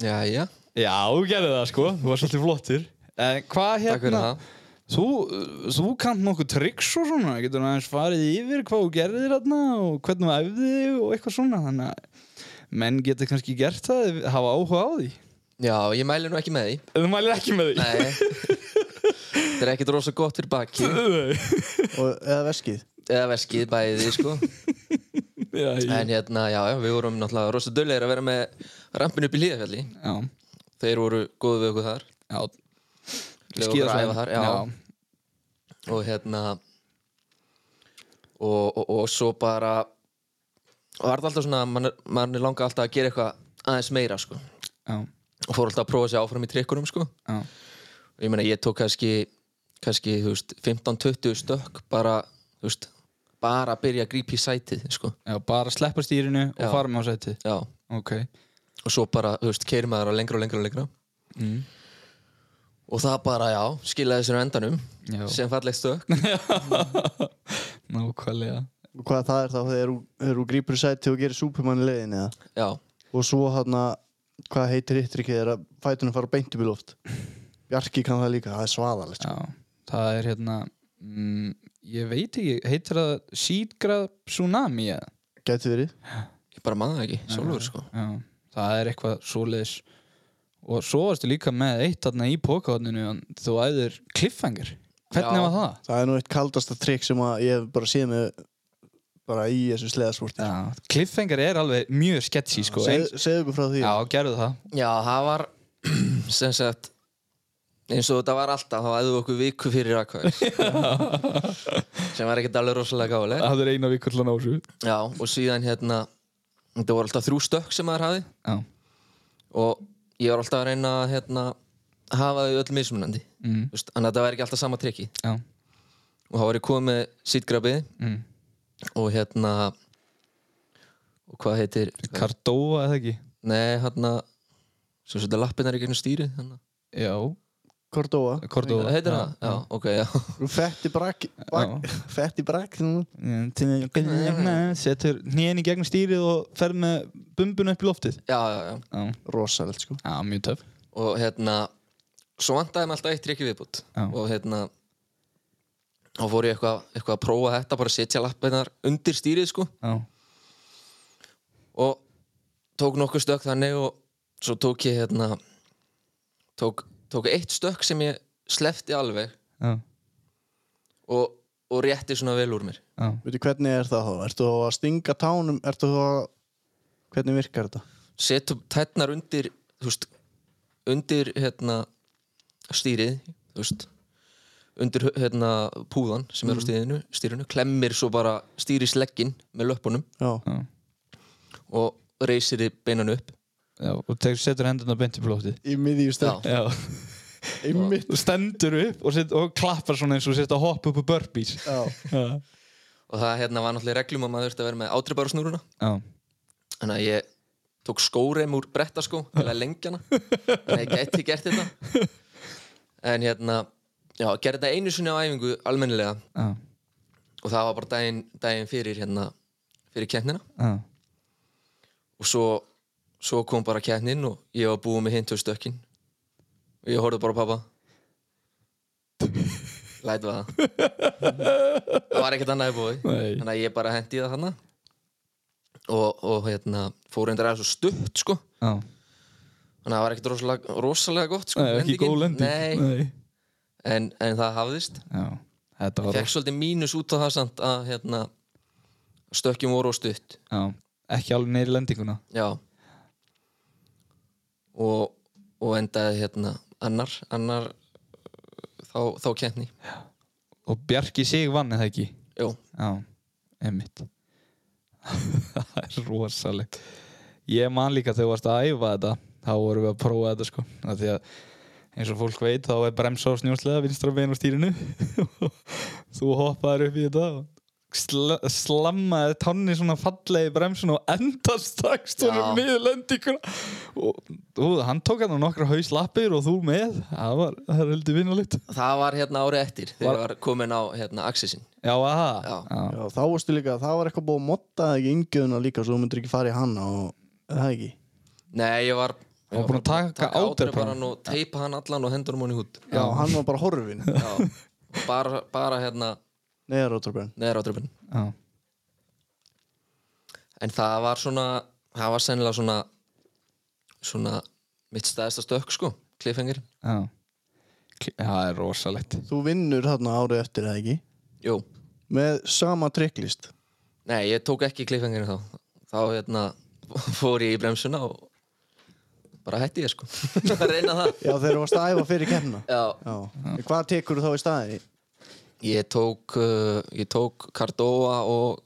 S2: Já, já,
S3: Já, þú gerði það sko, þú varst alltaf flottir En hvað
S2: takk fyrir
S3: hérna,
S2: það
S3: Þú, þú kannt nokkuð tryggs og svona, getur hann aðeins farið yfir hvað þú gerðir þarna og hvernig þú æfði þig og eitthvað svona, þannig að menn getur kannski gert það, ef- hafa áhuga á því.
S2: Já, ég mæli nú ekki með því
S3: En þú mælir ekki með því?
S2: Nei Þetta er ekkert rosa gott fyrir baki
S3: Nei.
S1: og, eða veskið
S2: Eða veskið bæði, sko
S3: já,
S2: En
S3: ég,
S2: hérna, já, já, við vorum náttúrulega rosa döllegir að vera með rampin upp í hlýðafjalli
S3: já,
S2: Þeir voru góðu við okkur þar
S3: já.
S2: Leyfa okkur að æfa þar, já. Og hérna og, og, og svo bara var það alltaf svona mann, mann langa alltaf að gera eitthvað aðeins meira sko.
S3: já,
S2: og fór alltaf að prófa sér áfram í trikkunum sko.
S3: já,
S2: ég meina ég tók kannski, kannski þú veist, 15-20 stökk bara, þú veist, bara að byrja að grípa í sætið sko.
S3: já, bara sleppa stýrinu og
S2: Já.
S3: fara með á sætið
S2: Já.
S3: ok,
S2: og svo bara þú veist, keiri maður á lengra og lengra og lengra
S3: mm.
S2: og það bara já, skilaði sér á endanum
S3: já,
S2: sem fallegt stökk
S3: nákvæmlega
S1: Hvað það er þá þegar þú- þegar þú grípur í sæti og gerir Superman í leiðin eða?
S2: já,
S1: Og svo hann hvað heitir hittir ekki þegar fætunum fara beint upp í loft? Bjarki kann það líka, það er svaðalegt.
S3: já, það er hérna mm, ég veit ekki, heitir það sídgrað tsunami eða
S1: Gæti verið.
S2: ég bara maður ekki, sjálfur sko
S3: Já, það er eitthvað svoleiðis og svo varstu líka með eitt þarna í pokahotninu þú æður kliffengar hvernig
S2: Já.
S3: var það?
S1: Það er nú eitt kaldasta trikk sem að ég hef bara séð með bara í þessu sleðasporti.
S3: Já, kliffengar er alveg mjög sketchy sko eins-
S1: Segðu segðu okkur frá því.
S3: Já, gerðu það
S2: já, það var sem sagt eins og þetta var alltaf, þá æðum við okkur viku fyrir aðkvæður sem var ekkert alveg rosalega gáðileg
S3: Það er eina vikur hlan á þessu
S2: já, og síðan hérna þetta voru alltaf þrjú stökk sem maður hafi
S3: Já,
S2: og ég var alltaf að reyna að hérna, hafa þau öll mismunandi
S3: mm,
S2: Þú veist, þannig að þetta væri ekki alltaf sama trikki
S3: já
S2: og þá var ég komið með sítgrabið
S3: mm.
S2: og hérna og hvað heitir
S3: Cardova eða ekki?
S2: Nei, hérna, hann að sem setja lappinnar í gegnum stýrið hérna.
S3: Já,
S1: Cordova.
S3: Cordova
S2: heitir það? Já, ok, já
S1: Þú fetti brak, bak, fetti brak þú.
S3: það? Setur hnén í gegnum stýrið og fer með bumbuna upp í loftið
S2: Já, já, já
S3: Já,
S1: Rosalegt sko.
S3: já mjög töf
S2: og hérna svo vantaði mig alltaf eitt trikki viðbútt
S3: Já.
S2: og hérna þá fór ég eitthvað eitthva að prófa þetta bara að setja lappinnar undir stýrið sko
S3: Já,
S2: og tók nokkuð stökk þannig og svo tók ég hérna tók, tók eitt stökk sem ég slefti alveg
S3: já,
S2: og, og rétti svona vel úr mér
S3: já
S1: Veitu hvernig er það þá? Ertu þá að stinga tánum? Ertu þá að... Hvernig virkar þetta?
S2: setum tætnar undir þú veist, undir hérna stýrið þú veist, undir hérna púðan sem er á stýrinu, stýrinu klemmir svo bara stýri sleggin með löppunum
S1: Já.
S3: Já,
S2: og reysir þið beinan upp
S3: já og tekur, setur hendurna beint upp í loftið
S1: Í miðjú stökk.
S3: Já,
S1: Einmitt.
S3: þú stendur upp og, set, og klappar svona eins og sett að hoppa upp úr burpees
S1: Já.
S3: Já,
S2: og það hérna var náttúrulega í reglum að maður þurfti að vera með ádreifbara snúruna
S3: já,
S2: þannig að ég tók skóreim úr brettaskó til að lengja hana þannig að ég gæti gert þetta en hérna já, gerði þetta einu sinni á æfingu almennilega
S3: já,
S2: og það var bara daginn, daginn fyrir hérna fyrir keppnina
S3: já,
S2: og svo, svo kom bara keppnin og ég var búið með hinn tvö stökkin og ég horfði bara á pappa læt var það það var ekkert annað í búið
S3: Nei.
S2: þannig að ég bara hendi í það þarna og, og hérna fór reyndar aðeins og stutt sko
S3: já
S2: þannig að það var ekkert rosalega, rosalega gott sko,
S3: Nei, ekki
S2: lendingin.
S3: góð lending
S2: Nei, en, en það hafðist
S3: Já, þetta var
S2: fekk svolítið mínus út á það samt að hérna, stökkjum voru og stutt
S3: já, ekki alveg neyri lendinguna
S2: já og, og endaði hérna annar, annar uh, þá, þá kenni
S3: og Bjarki sig vann eða ekki
S2: Jú,
S3: Já, emitt Það er rosalegt Ég man líka þegar þú varst að æfa þetta þá vorum við að prófa þetta sko að því að eins og fólk veit þá er bremsa á snjóslega vinstra bein á stýrinu þú hoppaðir upp í þetta og sl slammaði tanni svona fallegi bremsun og endast stakst honum
S2: Já.
S3: niður lendinguna og þú, hann tók hann á nokkra hauslappir og þú með það var, það er heldur vinnulitt
S2: það var hérna árið eftir þegar var komin á hérna axisinn
S3: Já, aha
S2: Já.
S1: Já, þá varstu líka, þá var eitthvað búið að modda það ekki yngjöðuna líka svo þú myndir ekki fara í hana og er það ekki.
S2: Nei, ég var
S3: Og búin að taka
S2: ádreparann
S3: ádreparann
S2: og teipa hann allan og hendur hann í hút
S1: Já, hann var bara horfin.
S2: Já, og bara, bara hérna
S1: Neðar ótrúbjörn.
S2: neðra ádrepan
S3: Já.
S2: En það var svona, það var sennilega svona, svona mitt staðista stökk sko, kliffengir.
S3: Já. Kli- Það er rosalegt.
S1: Þú vinnur þarna árið eftir eða ekki
S2: Jú,
S1: með sama trikklist.
S2: nei, ég tók ekki kliffengir þá. Þá hérna fór ég í bremsuna og bara hætti ég sko, að reyna það.
S1: Já, þegar þú varst að æfa fyrir kemna.
S2: Já,
S1: Já. Hvað tekur þú þá í staði?
S2: Ég tók, uh, ég tók Cardóa og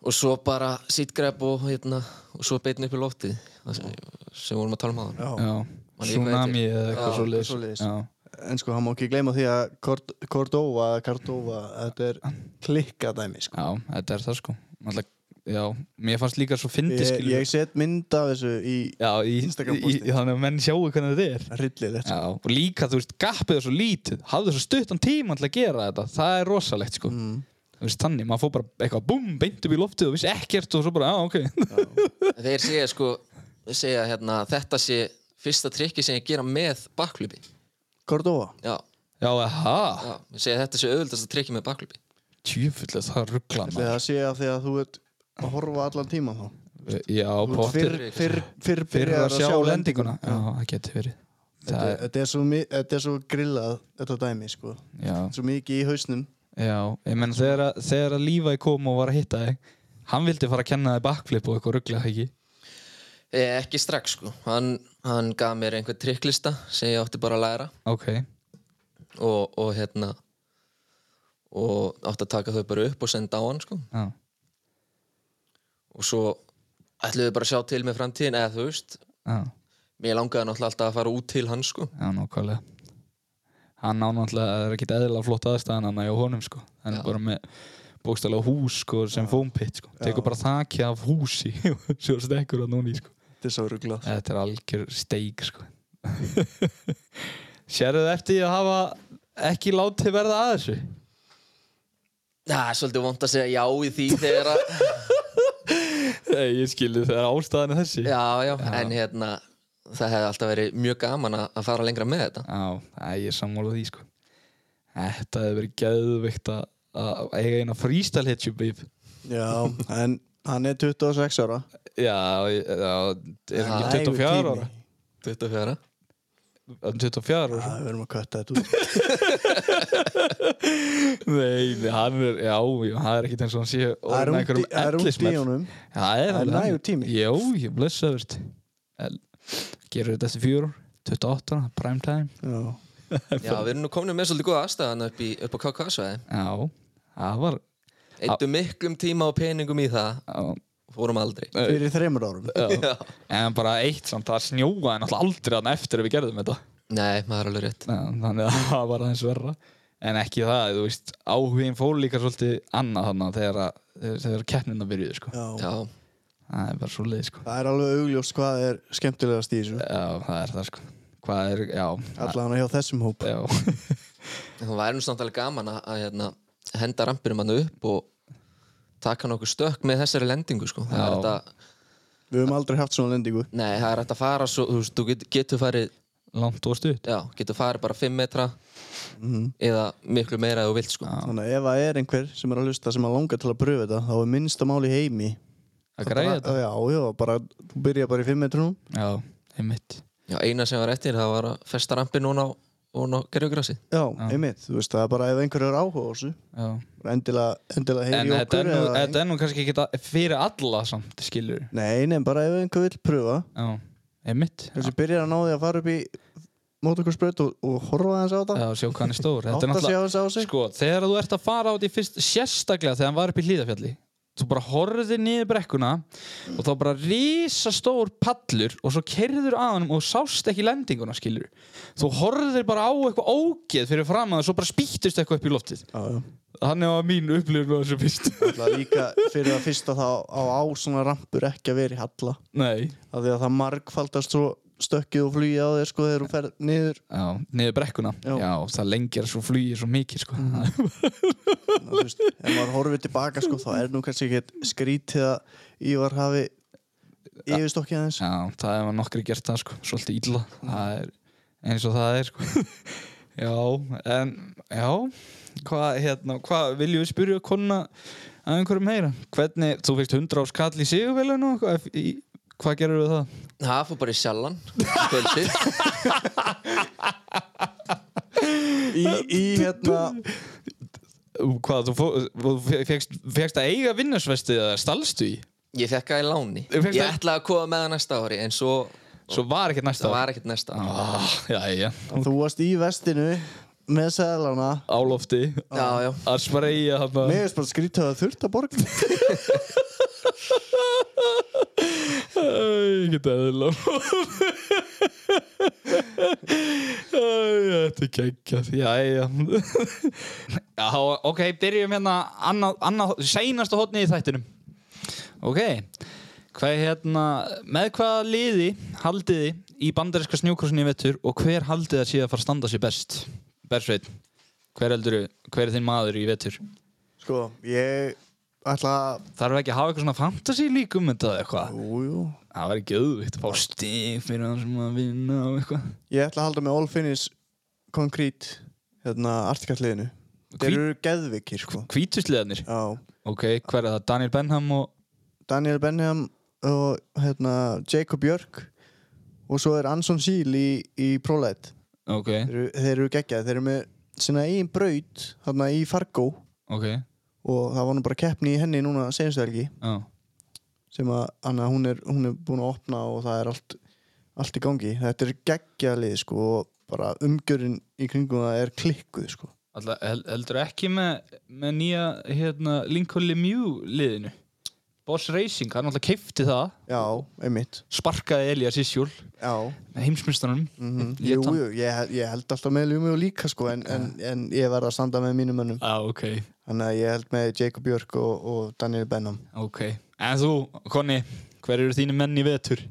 S2: og svo bara sitgrep og hérna og svo beitin upp í loftið það sem, sem vorum að tala um aðan
S1: Já.
S3: Já,
S2: Man líka
S3: tsunami
S2: heitir.
S3: eða eitthvað
S2: Já,
S3: svoleiðis.
S1: svoleiðis.
S3: Já,
S1: En sko, hann má ekki gleyma því að Cord- Cordova, Cordova, þetta er klikkadæmi, sko.
S3: já, þetta er það sko Alla, Já, mér fannst líka svo fyndi
S1: Ég,
S3: skilur
S1: ég set mynd af þessu í
S3: Já, í,
S1: Instagram
S3: í,
S1: posti.
S3: í, þannig að menn sjáu hvernig þetta er
S1: rillilegt.
S3: Já, og líka, þú veist, gapið er svo lítið hafðu svo stuttan tíma til að gera þetta það er rosalegt, sko
S1: Mm.
S3: þú veist, þannig, maður fór bara eitthvað, búm, beint upp í loftið og vissi ekkert og svo bara, já, ok
S2: Þeir segja sko segja, hérna, þetta sé fyrsta trikki sem ég gera með bakklubi
S1: Cordova.
S2: já,
S3: Já, aha,
S2: já, ég segja þetta sé auðvöldast að trikki með bakklubi
S3: tjúfullega, það er rugglan
S1: Þegar það sé að því að þú ert að horfa allan tíma þá.
S3: Já,
S1: Þú ert
S3: pottir
S1: fyrr, fyrr, fyrr
S3: fyrir
S1: byrjaður
S3: að sjá lendinguna Já, það getur verið
S1: Þetta,
S3: Það er,
S1: þetta, er svo, mi- þetta er svo grillað, þetta dæmi, sko.
S3: já,
S1: Svo mikið í hausnum.
S3: já Ég menn, þegar, að- þegar að lífaði kom og var að hitta þig Hann vildi fara að kenna þig backflip og eitthvað ruggla, ekki?
S2: e, ekki strax sko hann, hann gaf mér einhver trikklista sem ég átti bara að læra
S3: Ok,
S2: og, og hérna og átti að taka þau bara upp og senda á hann sko
S3: já,
S2: og svo ætlum við bara að sjá til með framtíðin eða þú veist,
S3: já,
S2: mér langaði náttúrulega alltaf að fara út til hann sko
S3: já, nákvæmlega Hann á náttúrulega, það er ekki eðla flott aðstæðan hann að hjá honum, sko Hann
S2: Já.
S3: er bara með bókstælega hús, sko, sem fómpitt, sko Tekur bara þakja af húsi Svo stekkur hann núni, sko
S1: Þetta er svo rugglað.
S3: Þetta er algjör steik sko. Sérðu þið eftir því að hafa ekki látið verða að þessu?
S2: það er svolítið vont að segja já í því þegar að
S3: Nei, ég skilu þegar ástæðan er þessi
S2: já, já, en hérna það hefði alltaf verið mjög gaman að að fara lengra með þetta
S3: Já, æ, ég er sammála því sko. Þetta hefur verið geðvikt að að eiga eina freestyle hitju bíf
S1: Já, en hann er 26 ára.
S3: Já, ég- já, er hann
S1: Nægur
S3: ekki 24
S1: tími.
S3: ára?
S2: 24
S3: Er hann 24 ára?
S1: Já, við erum að kötta þetta út.
S3: Nei, nei, hann er, já, já, það er ekkert eins og hann sé
S1: Það er
S3: orðinn
S1: ungt í-
S3: einhverjum
S1: það er ungt í
S3: ellismell.
S1: honum.
S3: Það er,
S1: Það er
S3: alveg
S1: nægur
S3: þannig.
S1: tími.
S3: Jó, ég blessa þurft Gerur þetta eftir fjör 28, ára, prime time
S1: Já.
S2: já, við erum nú komin með svolítið góða aðstæðan upp, í, upp á KK-svæði
S3: Já, það var
S2: eittum miklum tíma og peningum í það
S3: já,
S2: fórum aldrei
S1: Fyrir þreymur árum.
S3: já.
S2: já.
S3: En bara eitt samt, það snjóaði náttúrulega aldrei hann eftir að við gerðum þetta
S2: nei, maður er alveg rétt
S3: Já, Þannig að það var aðeins verra En ekki það, þú veist, áhugin fól líka svolítið annað þannig þegar, að- þegar, þegar keppnina byrjuði sko.
S1: Já.
S2: já,
S3: Það er bara svo leið sko.
S1: Það er alveg augljóst hvað er skemmtilegast í þessu.
S3: Já, það er það sko. Hvað er, já,
S1: Alla hana hjá þessum hóp.
S3: já.
S2: það væri nú samt alveg gaman að, að hérna, henda rampirum hann upp og taka nokkuð stökk með þessari lendingu sko. það er
S3: Já.
S2: þetta
S1: Við höfum aldrei haft svona lendingu.
S2: Nei, það er hægt að fara svo, þú veist, þú get, getur farið
S3: Langt og stutt
S2: já, getur farið bara 5 metra eða miklu meira ef þú vilt sko
S3: Mhm. Já.
S1: Þannig að ef það er einhver sem er að hlusta sem að langa til að pröfa þetta, þá er minnsta mál í heimi.
S3: að græja
S1: Bara-
S3: þetta
S1: Já, já, bara, þú byrja bara í 5 metrunum.
S3: Já, einmitt
S2: Já, eina sem var eftir það var að festa rampin núna á, og ná gerjugrassi
S1: Já, einmitt. Þú veist, það er bara ef einhver er áhuga á þessu,
S3: Já.
S1: bara endilega, endilega heyri
S3: En
S1: í
S3: þetta
S1: okkur.
S3: er, nú,
S1: eða-
S3: þetta er nú kannski ekki þetta- fyrir alla samt, skilur
S1: Nei, nefn, bara ef einhver vill pröfa,
S3: Já, einmitt
S1: kannski byrja að ná því að fara upp í motokorsbröð og, og horfa hans á það.
S3: Já, sjá hvað hann er stór Þetta er
S1: Átta sig á
S3: náttúrulega,
S1: þessu á sig.
S3: sko, þegar þú ert að fara át í fyrst Sérstaklega þegar hann var upp í hlýðafjalli Þú bara horfðir niður brekkuna Og þá bara risastór pallur Og svo kerður að hann og sást ekki lendinguna, skilur Þú horfðir bara á eitthvað ógeð fyrir fram að Og svo bara spýttist eitthvað upp í loftið
S1: Já, já.
S3: Þannig var mín upplifun á þessu fyrst
S1: Það líka fyrir að fyrsta þá á, á svona rampur ekki að vera í halla.
S3: Nei
S1: Af því að það margfaldast svo stökkið og flýja á þér sko þegar þú ferð niður
S3: Já, niður brekkuna
S1: Já.
S3: Já, það lengjar svo flýir svo mikið sko.
S1: Ná, þú veist, ef maður horfir tilbaka sko þá er nú kannski ekki skrítið að Ívar hafi yfirstokkið aðeins
S3: Já, það hefur nokkri gert það sko, svolítið illa það er eins og það er sko. Já, en já, hvað hérna, hvað viljum við spyrja konna að einhverju meira? Hvernig, þú fyrst 100 á skall í sigurvelinu og eitthvað, í- hvað gerir við það?
S2: Það fór bara í sjallan kvöldi
S1: í, í hérna
S3: Ú, Hvað, þú, fó, þú fegst, fegst að eiga vinnusvestið eða stalstu í?
S2: Ég fekk það í láni
S3: Þú fékkst
S2: Ég
S3: það-
S2: ætlaði að koma með það næsta ári en svo
S3: Svo var ekkert næsta
S2: það
S3: ár.
S2: var ekkert næsta ári
S3: Ah, já, já,
S1: þú varst í vestinu með seðlana
S3: á lofti
S2: Já, já.
S3: að spreja hana
S1: Mér finnst bara skrítið að þurft að borga
S3: Æ, Ekki eðla Þetta er geggjað Jæja Já, ok, byrjum hérna annað, annað, seinasta hotni í þættinum Ok Hvað er hérna, með hvaða liði haldið þið í bandarinska snjókursinni í vettur og hver haldið það sé að fara að standa sér best? Bersveit, hver heldur hver er þinn maður í vettur?
S1: Sko, ég ætla að
S3: Þarf ekki að hafa eitthvað svona fantasy líkum þetta eða eitthvað?
S1: Jú, jú
S3: Það væri gauðvikt að fá stig fyrir hann sem að vinna og eitthvað.
S1: Ég ætla að halda með All Finish Concrete Hérna, artikallinu Þeir
S3: Hvít-
S1: eru geðvikir, sko
S3: Hvítusliðanir.
S1: Já
S3: Ok, hver er það? Daniel Benham og...
S1: Daniel Benham og hérna, Jacob Björk og svo er Anson Síl í, í ProLight
S3: Ok,
S1: þeir, eru- þeir eru geggjað, þeir eru með sína eigin braut þarna í Fargo
S3: ok.
S1: og það var nú bara keppni í henni núna senstælgi
S3: Já,
S1: sem að hana, hún, er, hún er búin að opna og það er allt, allt í gangi þetta er geggjað lið sko og bara umgjörinn í kringum það er klikkuð sko
S3: alltaf hel, heldur ekki með, með nýja hérna, Lincoln Lemieux liðinu. Boss Racing, hann alltaf keifti það,
S1: já, einmitt
S3: sparkaði Elias Isjúl
S1: já,
S3: með heimsmyndstanum.
S1: mm
S3: Lét
S1: jú,
S3: hann-
S1: jú, ég, ég held alltaf með ljúmi og líka sko en, en, en ég verð að standa með mínum mönnum
S3: Já, Ah, ok,
S1: Þannig að ég held með Jacob Björk og, og Daniel Benham.
S3: ok. En þú, Konni, hver eru þínu menn í vetur?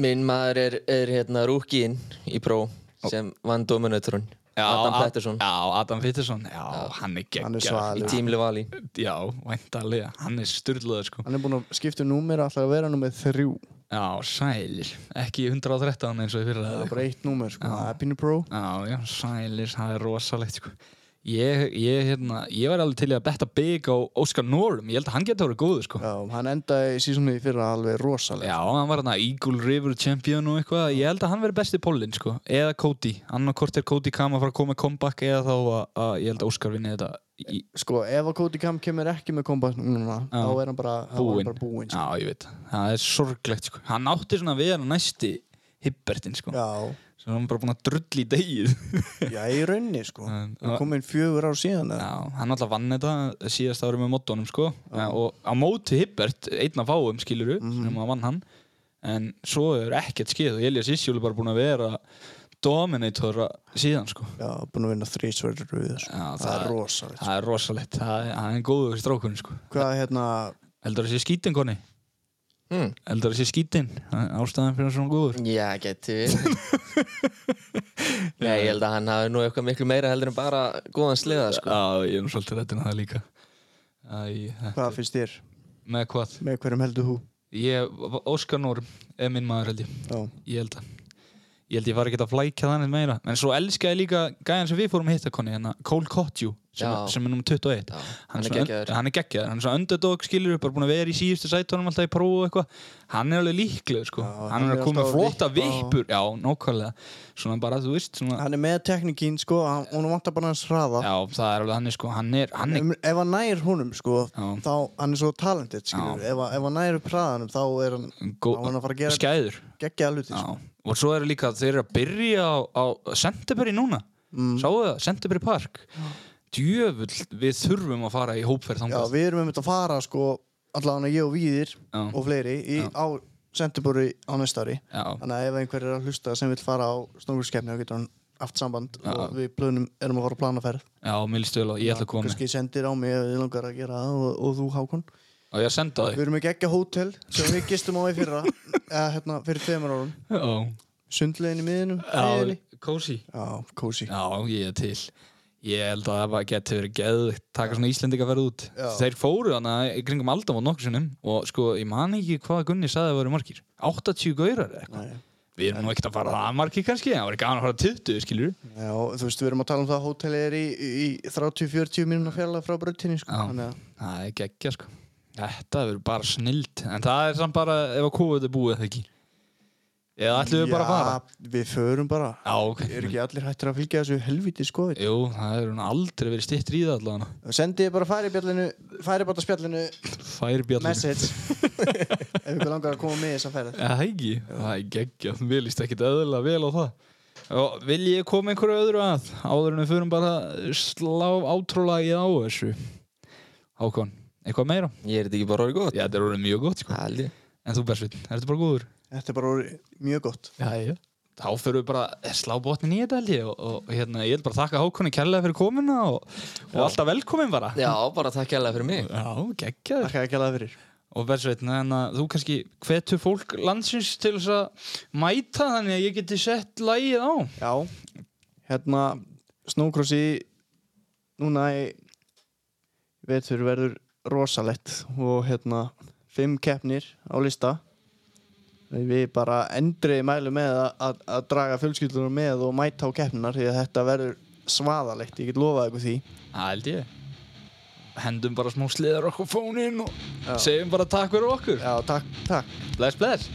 S2: Minn maður er, er hérna rúkiinn í pró sem vann Dominatorun Adam
S3: Ad-
S2: Pettersson
S3: Já, Adam Pettersson, já, hann er geggjað.
S1: Hann er svalur.
S2: í Team Livali
S3: Já, væntalega, hann er styrlaður sko.
S1: Hann er búinn að skipta um númer alltaf að vera númer þrjú.
S3: Já, sælir. Ekki 113 eins og í fyrra.
S1: Það
S3: eða
S1: er
S3: eitthvað.
S1: bara eitt númer, sko.
S3: Já.
S1: Það er pínu pro.
S3: Já, já, sælir, það er rosalegt sko. Ég, ég, hérna, ég var alveg til í að betta big á Óskar Norm, ég held að hann geta að vera góður sko. Já,
S1: Já, hann endaði í sísónu í fyrra alveg rosalega.
S3: hann var hann að Eagle River Champion og eitthvað, ég held að hann veri besti pólinn sko, eða Cody, annarkort er Cody Kama að fara að koma með comeback eða þá að, að ég held að Óskar vinni þetta í,
S1: Sko, ef að Cody Kam kemur ekki með kombat núna,
S3: Já.
S1: þá er hann bara þá er hann
S3: búinn.
S1: bara búinn. sko.
S3: Já, ég veit, það er sorglegt sko. Hann átti svona við hann næsti Hibbertin sko,
S1: Sko. Já,
S3: svo hann er bara búin að drull í degið.
S1: já, í raunni, sko.
S3: En-
S1: Hann kom inn fjögur ár síðan. eða?
S3: Já, hann alltaf vann þetta síðast ári með mótónum sko Já. og á móti Hibbert, einn af fáum skiluru mm -hmm. sem að vann hann en svo er ekkert skeið og Elias Isjúl er bara búin að vera dominator síðan sko
S1: Já, búinn að vinna þrísverður við þessu.
S3: Já,
S1: sko. það, er rosalegt. sko.
S3: Það er rosalegt, það er, hann er góður í strákunni sko
S1: Hvað, hérna,
S3: Heldur það sé skítin konni?
S2: hmm.
S3: Heldur það sé skítin? Ástæðan fyrir hann svona góður
S2: Já, geti verið. Nei, ég held að hann hafi nú eitthvað miklu meira heldur en bara góðan sleða sko.
S3: Já, ég er nú svolítið rættin að það líka Æ, þetta-
S1: hvað finnst þér?
S3: Með hvað?
S1: Með hverjum heldur þú?
S3: Ég, Óskar Norm er minn maður held ég
S1: Já,
S3: ég held að ég held ég var ekki að flækja þannig meira en svo elska ég líka gæðan sem við fórum að hitta konni hérna Cole Cottew sem,
S2: Já.
S3: er- sem er nummer 21
S2: Já,
S3: hann,
S2: hann er
S3: svona-
S2: geggjaður.
S3: hann er geggjaður, hann er svo underdog skilur bara búin að vera í síðustu sætunum alltaf í próf og eitthvað hann er alveg líklegur sko
S1: Já,
S3: hann
S1: hann
S3: er
S1: er
S3: að koma með
S1: alltaf að
S3: flotta
S1: vippa og-
S3: vippur já, nákvæmlega, svona bara þú veist svona,
S1: hann er með teknikín, sko. Hann, hún vantar bara hans hraða.
S3: já, það er alveg hann er sko hann er, hann er
S1: Um, ef hann nær honum sko
S3: Já.
S1: þá hann er svo talented skilur ef, hann- ef hann nær upp hraðanum þá er hann
S3: gó,
S1: þá er hann að fara að gera
S3: skæður
S1: geggjaða hluti
S3: já.
S1: sko.
S3: og svo eru líka þeir eru að byrja á, á Senteberi núna mm. sáu það, Senteberi Park djöfull, við þurfum að fara í hópferð
S1: já,
S3: þangað
S1: við erum einmitt að fara sko allavega ég og Víðir
S3: Já.
S1: og fleiri í, á Sentibori á næsta ári
S3: Já.
S1: þannig að ef einhver er að hlusta sem vil fara á snókurskeppni þá getur hann haft samband og við plönum erum að fara að plana ferð
S3: já, mér líst vel á, ég ætla að koma með
S1: kannski sendir á mig ef þið langar að gera það og, og þú Hákon
S3: og ég að senda
S1: við
S3: þig
S1: erum ekki ekki hótel sem við gistum á í fyrra eða hérna fyrir tveimur árum
S3: já,
S1: sundlegin í miðinum
S3: já,
S1: Eyjunni.
S3: kósi
S1: já kósi
S3: já, ég er til ég held að það bara geti verið geðvikt taka svona Íslendinga verið út
S1: Já.
S3: þeir fóru hana í kringum aldamót nokkur sinnum og sko, ég man ekki hvað Gunni saði að það voru margir 80 gaurar eða eitthvað
S1: Nei.
S3: við erum nú ekkert að fara það margir kannski það voru gaman að fara 20 skilur
S1: Já, þú veist, við erum að tala um það að hótelið er í, í 30-40 mínúna fjarlag frá brautinni, sko.
S3: Já.
S1: Þannig að,
S3: Það er geggja sko Þetta verður bara snild En það er samt bara ef að COVID er búið eða ekki Eða ætlum við bara að fara
S1: Já, við förum bara.
S3: Já, ok
S1: Er ekki allir hættir að fylgja þessu helviti skoði?
S3: Jú, það hefur hún aldrei verið stýttir í það allavega
S1: Sendiði bara færibjallinu, færibáttaspjallinu,
S3: Færbjallin
S1: message, ef ykkur langar að koma með í þessa ferð.
S3: Það er ekki, það er geggja Mér líst ekkit eðlilega vel á það Og vil ég koma einhverju öðru að áður en við förum bara að slá átrúlagi á þessu Hákon, eitthvað meira?
S2: Ég er þetta ekki bara orðið gott
S3: Já, þetta er orðið mjög gott sko
S2: Haldi
S3: En þú Bersvinn, ertu bara góður?
S1: Þetta er bara orðið mjög gott
S3: Já, já Þá förum við bara að slá botnin í þetta held ég og, og hérna, ég vil bara þakka Hákonni kærlega fyrir komuna og, og alltaf velkomin bara
S2: Já, bara takk hérlega fyrir mig
S3: Já, geggjaður
S1: Takk að ég kæla það fyrir
S3: Og Bersvinn, en að þú kannski hvetur fólk landsins til þess að mæta þannig að ég geti sett lagið á
S1: Já, hérna Snowcrossi núna í vetur verður rosalett og hérna fimm keppnir á lista við bara endrið mælu með að, að, að draga fjölskyldunum með og mæta á keppninar því að þetta verður svaðalegt, ég get lofað ykkur því
S3: Það held ég Hendum bara smá sliðar okkur fónin og segjum bara takk fyrir okkur
S1: Já, takk, takk
S3: Bless, bless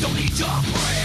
S5: Don't need your prayer.